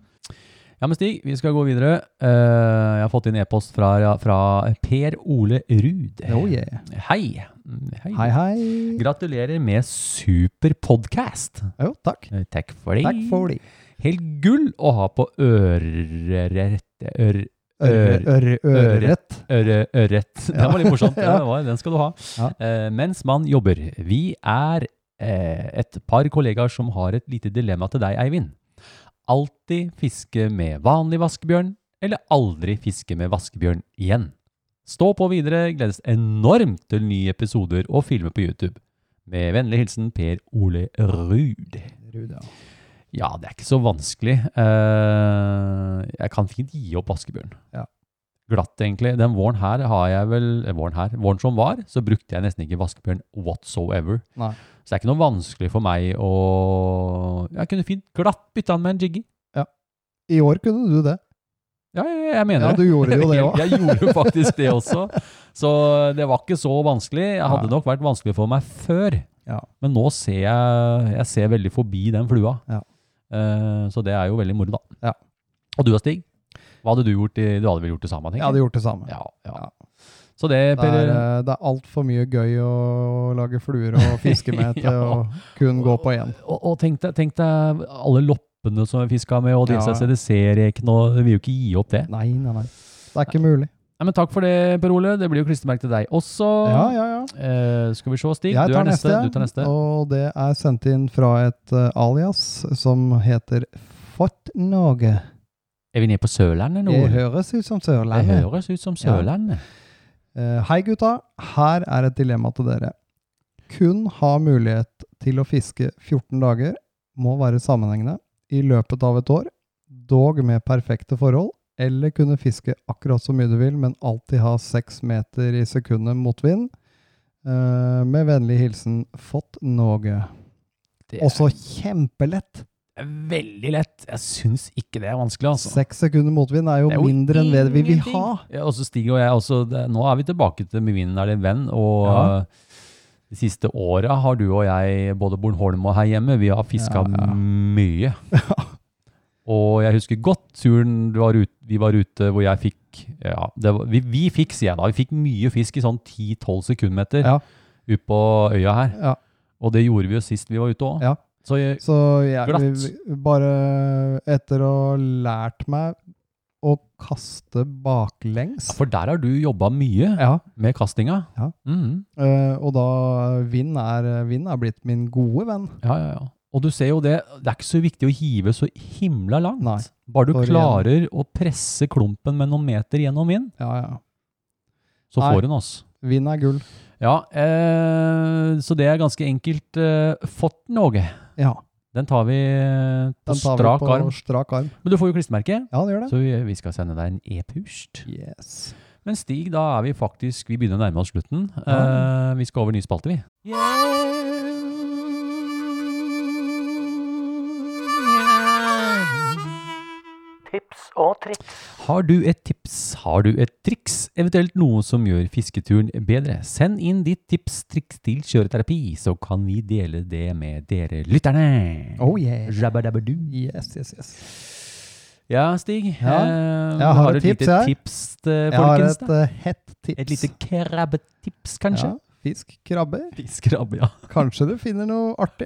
Ja, men Stig, vi skal gå videre. Eh, jeg har fått inn e-post fra, fra Per Ole Ruud.
Oh, yeah.
Hei. Mm, Hei.
Hei, hei.
Gratulerer med super podcast.
Jo, takk.
Eh, Takk for det.
Takk for det.
Helt gull å ha på øreret. Ør,
Øre, øre, ørerett.
øre, øret. Den var litt morsomt. Ja, det var, den skal du ha.
Ja.
Eh, mens man jobber. Vi er eh, et par kollegaer som har et lite dilemma til deg, Eivind. Alltid fiske med vanlig vaskebjørn, eller aldri fiske med vaskebjørn igjen. Stå på videre, gledes enormt til nye episoder og filmer på YouTube. Med vennlig hilsen Per Ole Ruud.
Ruud, ja.
Ja, det er ikke så vanskelig. Eh, jeg kan fint gi opp vaskebjørn.
Ja.
Glatt, egentlig. Den våren her har jeg vel eh, Våren her, våren som var, så brukte jeg nesten ikke vaskebjørn whatsoever.
Nei.
Så det er ikke noe vanskelig for meg å Jeg kunne fint glatt bytta den med en jiggy.
I år kunne du det.
Ja, jeg, jeg mener
Ja, du
det.
gjorde
[laughs]
jo det
Jeg-
òg.
Jeg gjorde jo faktisk det
[laughs]
også. Så det var ikke så vanskelig. Jeg hadde
Nei.
nok vært vanskelig for meg før.
Ja.
Men nå ser jeg, jeg ser veldig forbi den flua.
Ja.
Eh, så det er jo veldig moro, da.
Ja.
Og du da, Stig? Hva hadde du gjort? I, du hadde vel gjort det samme? tenker
Jeg hadde gjort det samme.
jeg. Ja, ja.
Ja.
Så det,
Det
Per
er, eh, det er altfor mye gøy å lage fluer og
[laughs]
fiske med til
Ja.
å kun gå på én.
Og, og tenk, deg, tenk deg alle loppene som vi fiska med, og
Ja.
disse CDC-rekene, og vi vil jo ikke gi opp det.
Nei, nei, nei. Det er ikke mulig.
Nei, men takk for det, Per Ole. Det blir jo klistremerke til deg også.
Ja, ja, ja.
Eh, skal vi se, Stig.
Jeg
Du
tar
er neste.
neste,
Du tar neste.
og det er sendt inn fra et eh, alias som heter Fort Norge.
Er vi nede på Sørlandet nå?
Det høres ut som
Det
Sørlandet.
høres ut som
Ja.
Sørlandet.
Eh, Hei gutta, her er et dilemma til dere. Kun ha mulighet til å fiske 14 dager, må være sammenhengende, i løpet av et år, dog med perfekte forhold, eller kunne fiske akkurat så mye du vil, men alltid ha 6 meter i sekundet motvind. Eh, Med vennlig hilsen Fått Norge.
Det
Også kjempelett!
er veldig lett. Jeg syns ikke det er vanskelig, altså.
Seks sekunder motvind er jo,
Det er jo
mindre enn det vi vil ha.
Ja, og så Stig og jeg også, det, nå er vi tilbake til Med vinden er det en venn, og
Ja.
eh, de siste åra har du og jeg, både Bornholm og her hjemme, vi har fiska
Ja, ja.
mye. Og jeg husker godt turen du var ut, vi var ute hvor jeg fikk ja, det var, vi, vi fikk, sier jeg da, vi fikk mye fisk i sånn 10-12 sekundmeter
Ja.
ut på øya her.
Ja.
Og det gjorde vi jo sist vi var ute òg.
Ja.
Så jeg,
Så jeg
Glatt.
vi- bare etter å ha lært meg å kaste baklengs
for der har du jobba mye
Ja,
med kastinga.
Ja.
Mhm.
eh, og da vind er, vind er blitt min gode venn.
Ja, ja, ja. Og du ser jo det, det er ikke så viktig å hive så himla langt.
Nei.
Bare du
For igjen-
klarer å presse klumpen med noen meter gjennom vind,
Ja, ja.
så
Nei.
får hun oss.
Vind er gull.
Ja, eh, så det er ganske enkelt eh, fått noe.
Ja,
Den tar vi eh, på
den tar vi
strak
på
arm.
strak arm.
Men du får jo klistremerke,
Ja, det gjør det.
så vi, vi skal sende deg en e-pust.
Yes.
Men Stig, da er vi faktisk Vi begynner å nærme oss slutten. Eh, vi skal over ny spalte, vi.
Tips og triks.
Har du et tips, har du et triks, eventuelt noe som gjør fisketuren bedre? Send inn ditt tips, triks til kjøreterapi, så kan vi dele det med dere lytterne.
Oh yeah.
Rabadabadoo.
Yes, yes, yes.
Ja, Stig.
Ja,
eh,
jeg har
du
et tips,
lite
jeg.
tips til
Jeg har
folkens.
et
da.
eh, hett tips.
et lite krabbetips, kanskje?
Ja,
[laughs]
fisk, krabber.
Fiskrabbe, ja.
Kanskje du finner noe
[laughs]
artig.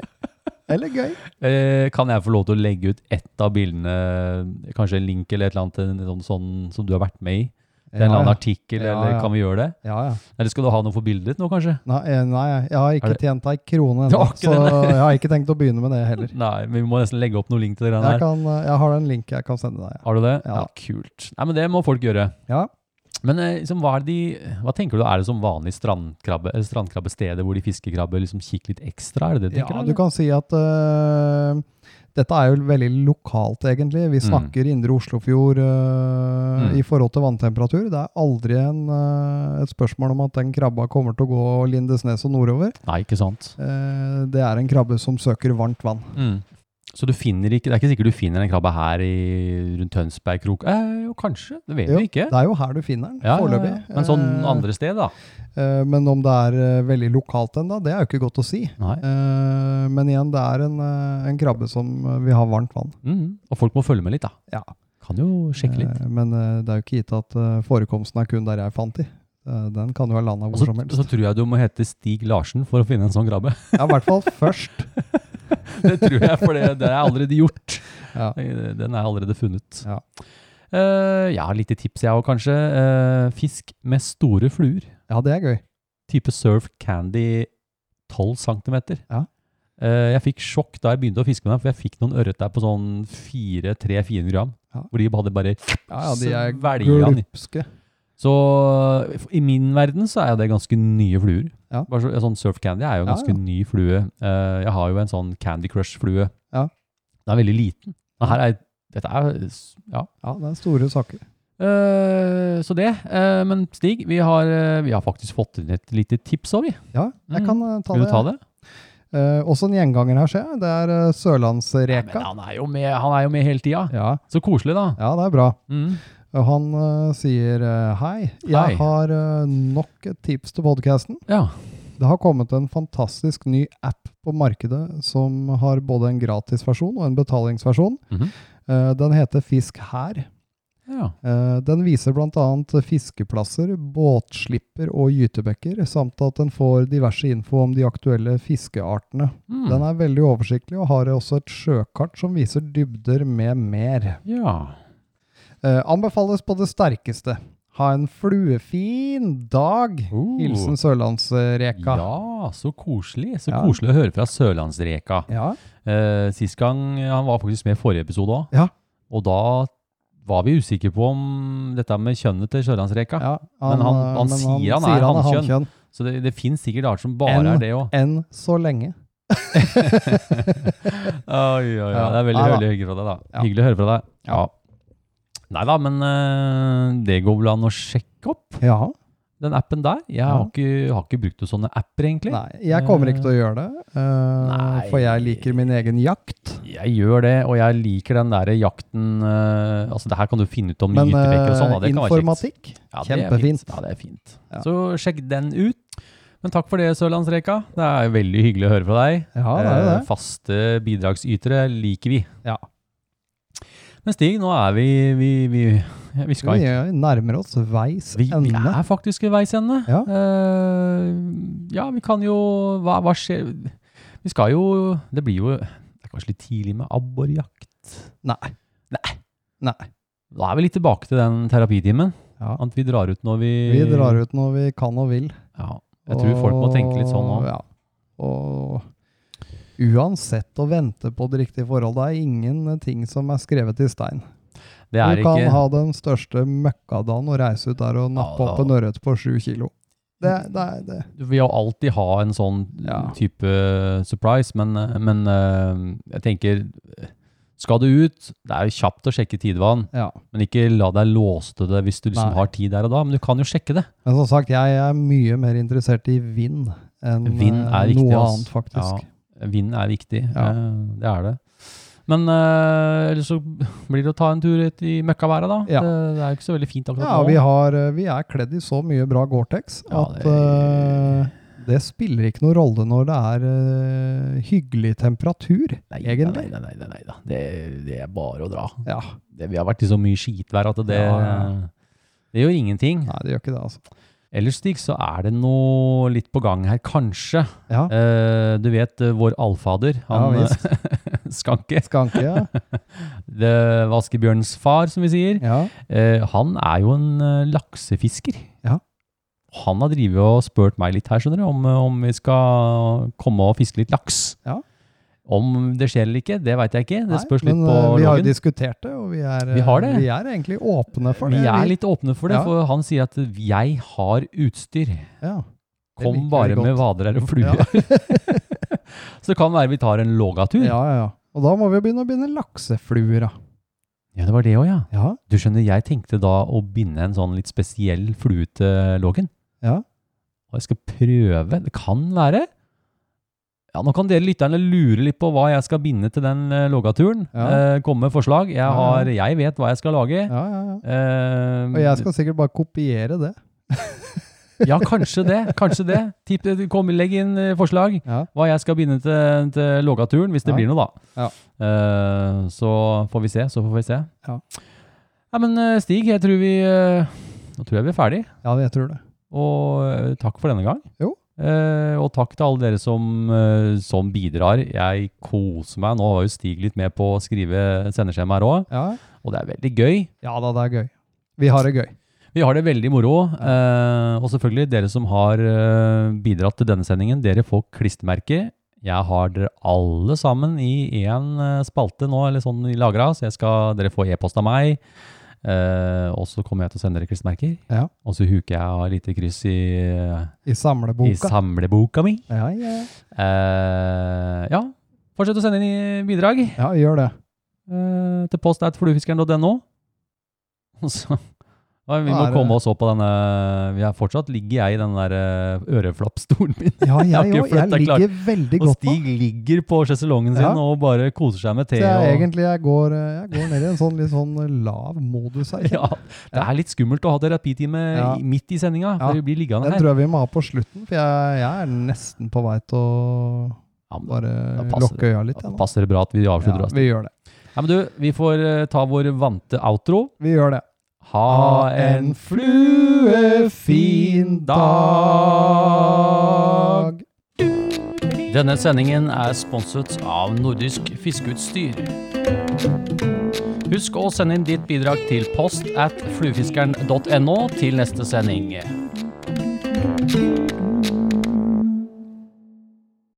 Eller gøy.
Eh, kan jeg få lov til å legge ut ett av bildene, kanskje en link eller et eller annet til en sånn, sånn som du har vært med i? Til en
Ja,
eller annen
ja.
artikkel,
Ja,
eller
ja.
kan vi gjøre det?
Ja, ja.
Eller skal du ha noe for bildet ditt nå, kanskje?
Nei, eh, nei jeg har
Er
ikke
det-
tjent ei krone
Du
ennå,
har ikke
så
det,
[laughs] jeg har ikke tenkt å begynne med det
[laughs]
heller.
Nei, men vi må nesten legge opp noen link til det
Jeg,
greiene her.
kan, eh, jeg har en link jeg kan sende deg.
Har du det?
Ja.
kult. Nei, men det må folk gjøre.
Ja.
Men eh, liksom, hva, er det de, hva tenker du, er det som vanlig strandkrabbe, eller strandkrabbesteder hvor de fiskekrabber liksom kikker litt ekstra? Er det det du
Ja,
tenker?
du
eller?
kan si at eh, dette er jo veldig lokalt, egentlig. Vi snakker indre Oslofjord eh,
Mm.
i forhold til vanntemperatur. Det er aldri en, eh, et spørsmål om at den krabba kommer til å gå Lindesnes og nordover.
Nei, ikke sant?
Eh, det er en krabbe som søker varmt vann.
Mm. Så du finner ikke, det er ikke sikkert du finner en krabbe her i, rundt Tønsbergkrok? Eh, jo, kanskje. Det vet
Jo,
vi ikke.
Det er jo her du finner den,
Ja, ja,
foreløpig.
ja. Men sånn
Eh,
andre sted, da?
eh, men om det er eh, veldig lokalt ennå, det er jo ikke godt å si.
Nei.
Eh, men igjen, det er en, eh, en krabbe som eh, vil ha varmt vann.
Mm. Og folk må følge med litt, da.
Ja.
Kan jo sjekke litt.
Eh, men eh, det er jo ikke gitt at eh, forekomsten er kun der jeg fant de. Eh, den kan jo ha landa
Og
hvor
så,
som
så
helst.
tror jeg du må hete Stig Larsen for å finne en sånn krabbe. [laughs]
Ja, I hvert fall [laughs] først.
Det tror jeg, for det, det er allerede gjort. Eh,
Ja.
Den er allerede funnet.
Ja.
Eh, jeg har lite tips, jeg òg, kanskje. Eh, fisk med store fluer.
Ja, det er gøy.
Type Surf Candy 12 cm.
Ja.
jeg fikk sjokk da jeg begynte å fiske med dem, for jeg fikk noen ørret der på sånn 400-400 gram.
Ja.
Hvor de hadde bare
Ja, ja, de er
Svelger han i.
glupske.
Så i min verden så er jo det ganske nye fluer.
Ja.
Bare så, sånn Surf Candy er jo en
Ja,
ganske
ja.
ny flue. Eh, jeg har jo en sånn Candy Crush-flue.
Ja.
Den er veldig liten. Men her er, dette er ja.
Ja, det er store saker.
Eh, så det. Eh, men Stig, vi har, eh, vi har faktisk fått inn et lite tips òg, vi.
Ja, jeg
Mm.
kan eh, ta
Vil du
det.
ta det?
Eh, også en gjenganger her, ser jeg. Det er eh,
Nei, men
Sørlandsreka.
han er jo med, han er jo med hele tida.
Ja,
Så koselig, da.
ja, det er bra.
Mm.
Og Han eh, sier eh, hei. Jeg
Hei.
har eh, nok et tips til podkasten.
Ja.
Det har kommet en fantastisk ny app på markedet som har både en gratisversjon og en betalingsversjon.
Mhm.
Eh, Den heter Fisk her.
ja.
Eh, Den viser bl.a. fiskeplasser, båtslipper og gytebekker, samt at den får diverse info om de aktuelle fiskeartene.
Mm.
Den er veldig oversiktlig og har også et sjøkart som viser dybder med mer.
ja.
Eh, anbefales på det sterkeste. Ha en fluefin dag!
Oh.
Hilsen Sørlandsreka.
Ja, så koselig. Så
Ja.
koselig å høre fra Sørlandsreka.
ja.
Eh, sist gang han var faktisk med i forrige episode òg.
Ja.
Og da var vi usikre på om dette med kjønnet til sjølandsreka.
Ja,
Men han-
eh,
han sier han er hannkjønn.
hannkjønn.
Så det, det finnes sikkert arter som bare
Enn-
er det
[laughs]
òg.
Enn så lenge. Ja.
Det er veldig,
Neida.
veldig hyggelig fra deg, da.
Ja.
Hyggelig å høre fra deg. Ja.
Ja.
Nei da, men eh, det går vel an å sjekke opp
Ja.
den appen der. Jeg har,
Ja.
ikke, har ikke brukt noen sånne apper, egentlig.
Nei, jeg kommer ikke til å gjøre det, eh,
Nei.
for jeg liker min egen jakt.
Jeg gjør det, og jeg liker den der jakten eh, Altså, det her kan du finne ut om
Men
gytebekker og sånn. da.
eh,
Det kan være kjekt.
informatikk,
det er
kjempefint.
fint. Ja, det er fint.
Ja.
Så sjekk den ut. Men takk for det, Sørlandsreka. Det er veldig hyggelig å høre fra deg.
Ja, det er jo
Eh,
det.
Faste bidragsytere liker vi.
Ja.
Men Stig, nå er vi Vi, vi, ja, vi skal
Vi
ikke
eh, nærmer oss veis
vi, vi
ende.
er faktisk ved veis ende.
Ja.
Eh, ja, vi kan jo hva, hva skjer Vi skal jo Det blir jo Det er kanskje litt tidlig med abborjakt.
Nei.
Nei.
Nei.
Da er vi litt tilbake til den terapitimen.
Ja.
At vi drar ut når vi
Vi drar ut når vi kan og vil.
Ja. Jeg tror folk må tenke litt sånn nå.
Og- Ja. Og uansett å vente på det riktige forholdet, det er ingenting som er skrevet i stein.
Det
Du
er
kan
ikke
ha den største møkkadagen og reise ut der og nappe
Ja,
opp en ørret på sju kilo. Det, det, er- det.
Du vil jo alltid ha en sånn
Ja.
type eh, surprise, men, men eh, jeg tenker Skal du ut? Det er jo kjapt å sjekke tidvann,
Ja.
men ikke la deg låse til det hvis du liksom
Nei.
har tid der og da. Men du kan jo sjekke det.
Men som sagt, jeg er mye mer interessert i vind enn
Vind er
eh,
viktig,
noe
ass.
annet, faktisk.
Vind er viktig.
Ja.
eh, det er det. Men eh, ellers så blir det å ta en tur ut i møkkaværet, da.
Ja.
Det, det er jo ikke så veldig fint
Ja,
akkurat
vi,
nå.
har, eh, vi er kledd i så mye bra Gore-Tex
Ja,
at
det-
eh, det spiller ikke noen rolle når det er eh, hyggelig temperatur,
Nei,
egentlig.
Nei, nei, nei, nei, da. Det, det er bare å dra.
Ja.
Det, vi har vært i så mye skitvær at det,
Ja, ja.
det gjør ingenting.
Nei, det gjør ikke det, altså.
Ellers, Stig, så er det noe litt på gang her, kanskje.
Ja,
Eh, du vet eh, vår allfader, han
Ja,
eh, [laughs]
visst.
Skanke,
Skanke, ja.
[laughs] det vaskebjørnens far, som vi sier.
ja.
Eh, han er jo en eh, laksefisker.
Ja.
Han har drivet og spurt meg litt her, skjønner du, om, eh, om vi skal komme og fiske litt laks.
Ja.
Om det skjer eller ikke, det veit jeg ikke. Det
Nei,
spørs litt
men,
på
eh, Vi har jo
loggen.
diskutert det, og vi er, eh,
Vi har det.
Vi er egentlig åpne for det.
Vi er litt åpne for det,
Ja.
for han sier at 'jeg har utstyr'.
ja. Det liker
Kom
vi
bare med
godt.
vader og fluer. [laughs] så det kan være vi tar en lågatur.
ja, ja, ja. Og da må vi jo begynne å binde laksefluer, da.
Ja, det var det òg, ja.
Ja.
Du skjønner, jeg tenkte da å binde en sånn litt spesiell flue til lågen.
Ja.
Og jeg skal prøve. Det kan være. Ja, Nå kan dere lytterne lure litt på hva jeg skal binde til den eh, lågaturen.
Ja.
Eh, komme med forslag. Jeg,
Ja, ja.
har, jeg vet hva jeg skal lage.
Ja, ja, ja.
Eh,
Og jeg skal sikkert bare kopiere det.
Ja, kanskje det. Kanskje det. Tipp, kom, legg inn eh, forslag.
Ja.
Hva jeg skal begynne til, til lågaturen, hvis det
Ja.
blir noe, da.
Ja.
Eh, så får vi se, så får vi se.
Ja.
Nei, men eh, Stig, jeg tror vi eh, Nå tror jeg vi er ferdig.
Ja, jeg tror det.
Og eh, takk for denne gang.
Jo.
Eh, og takk til alle dere som, eh, som bidrar. Jeg koser meg. Nå har jo Stig litt med på å skrive sendeskjema her òg,
Ja,
og det er veldig gøy.
ja da, det er gøy. Vi har det gøy.
Vi har det veldig moro. eh, og selvfølgelig, dere som har eh, bidratt til denne sendingen, dere får klistmerke. Jeg har dere alle sammen i én eh, spalte nå, eller sånn i lagra, så jeg skal, dere får e-post av meg. eh, og så kommer jeg til å sende dere klistmerker.
Ja.
Og så huker jeg av et lite kryss i, eh,
I
i
samleboka.
samleboka mi.
ja, ja.
Eh, ja, fortsett å sende inn i bidrag
ja, gjør det.
eh, til post at fluefiskeren.no. [laughs] Og så Nei, Vi
Da
må
er det-
komme oss opp på denne vi er Fortsatt ligger jeg i den der eh, øreflappstolen
[laughs]
min. [laughs]
Ja,
Jeg har ikke
jeg òg. Jeg
flyttet klart.
ligger veldig
Og
godt på.
Stig ligger på sjeselongen sin
Ja.
og bare koser seg med
Så
te.
jeg,
og,
egentlig, jeg går, eh, jeg går ned i en sånn litt sånn lav modus her.
[laughs] ja, det er litt skummelt å ha terapitime
Ja.
i- midt i sendinga,
Ja.
for vi blir liggende
Den
her.
tror jeg vi må ha på slutten, for jeg, jeg er nesten på vei til å
Ja, men,
bare
Da passer
lukke øya litt.
da
jeg nå.
passer det bra at vi avslutter
Ja,
oss.
vi gjør det.
Ja, men du, vi får eh, ta vår vante outro.
Vi gjør det.
Ha en fluefin dag! Denne sendingen er sponset av Nordisk Fiskeutstyr. Husk å sende inn ditt bidrag til post at fluefiskeren.no til neste sending.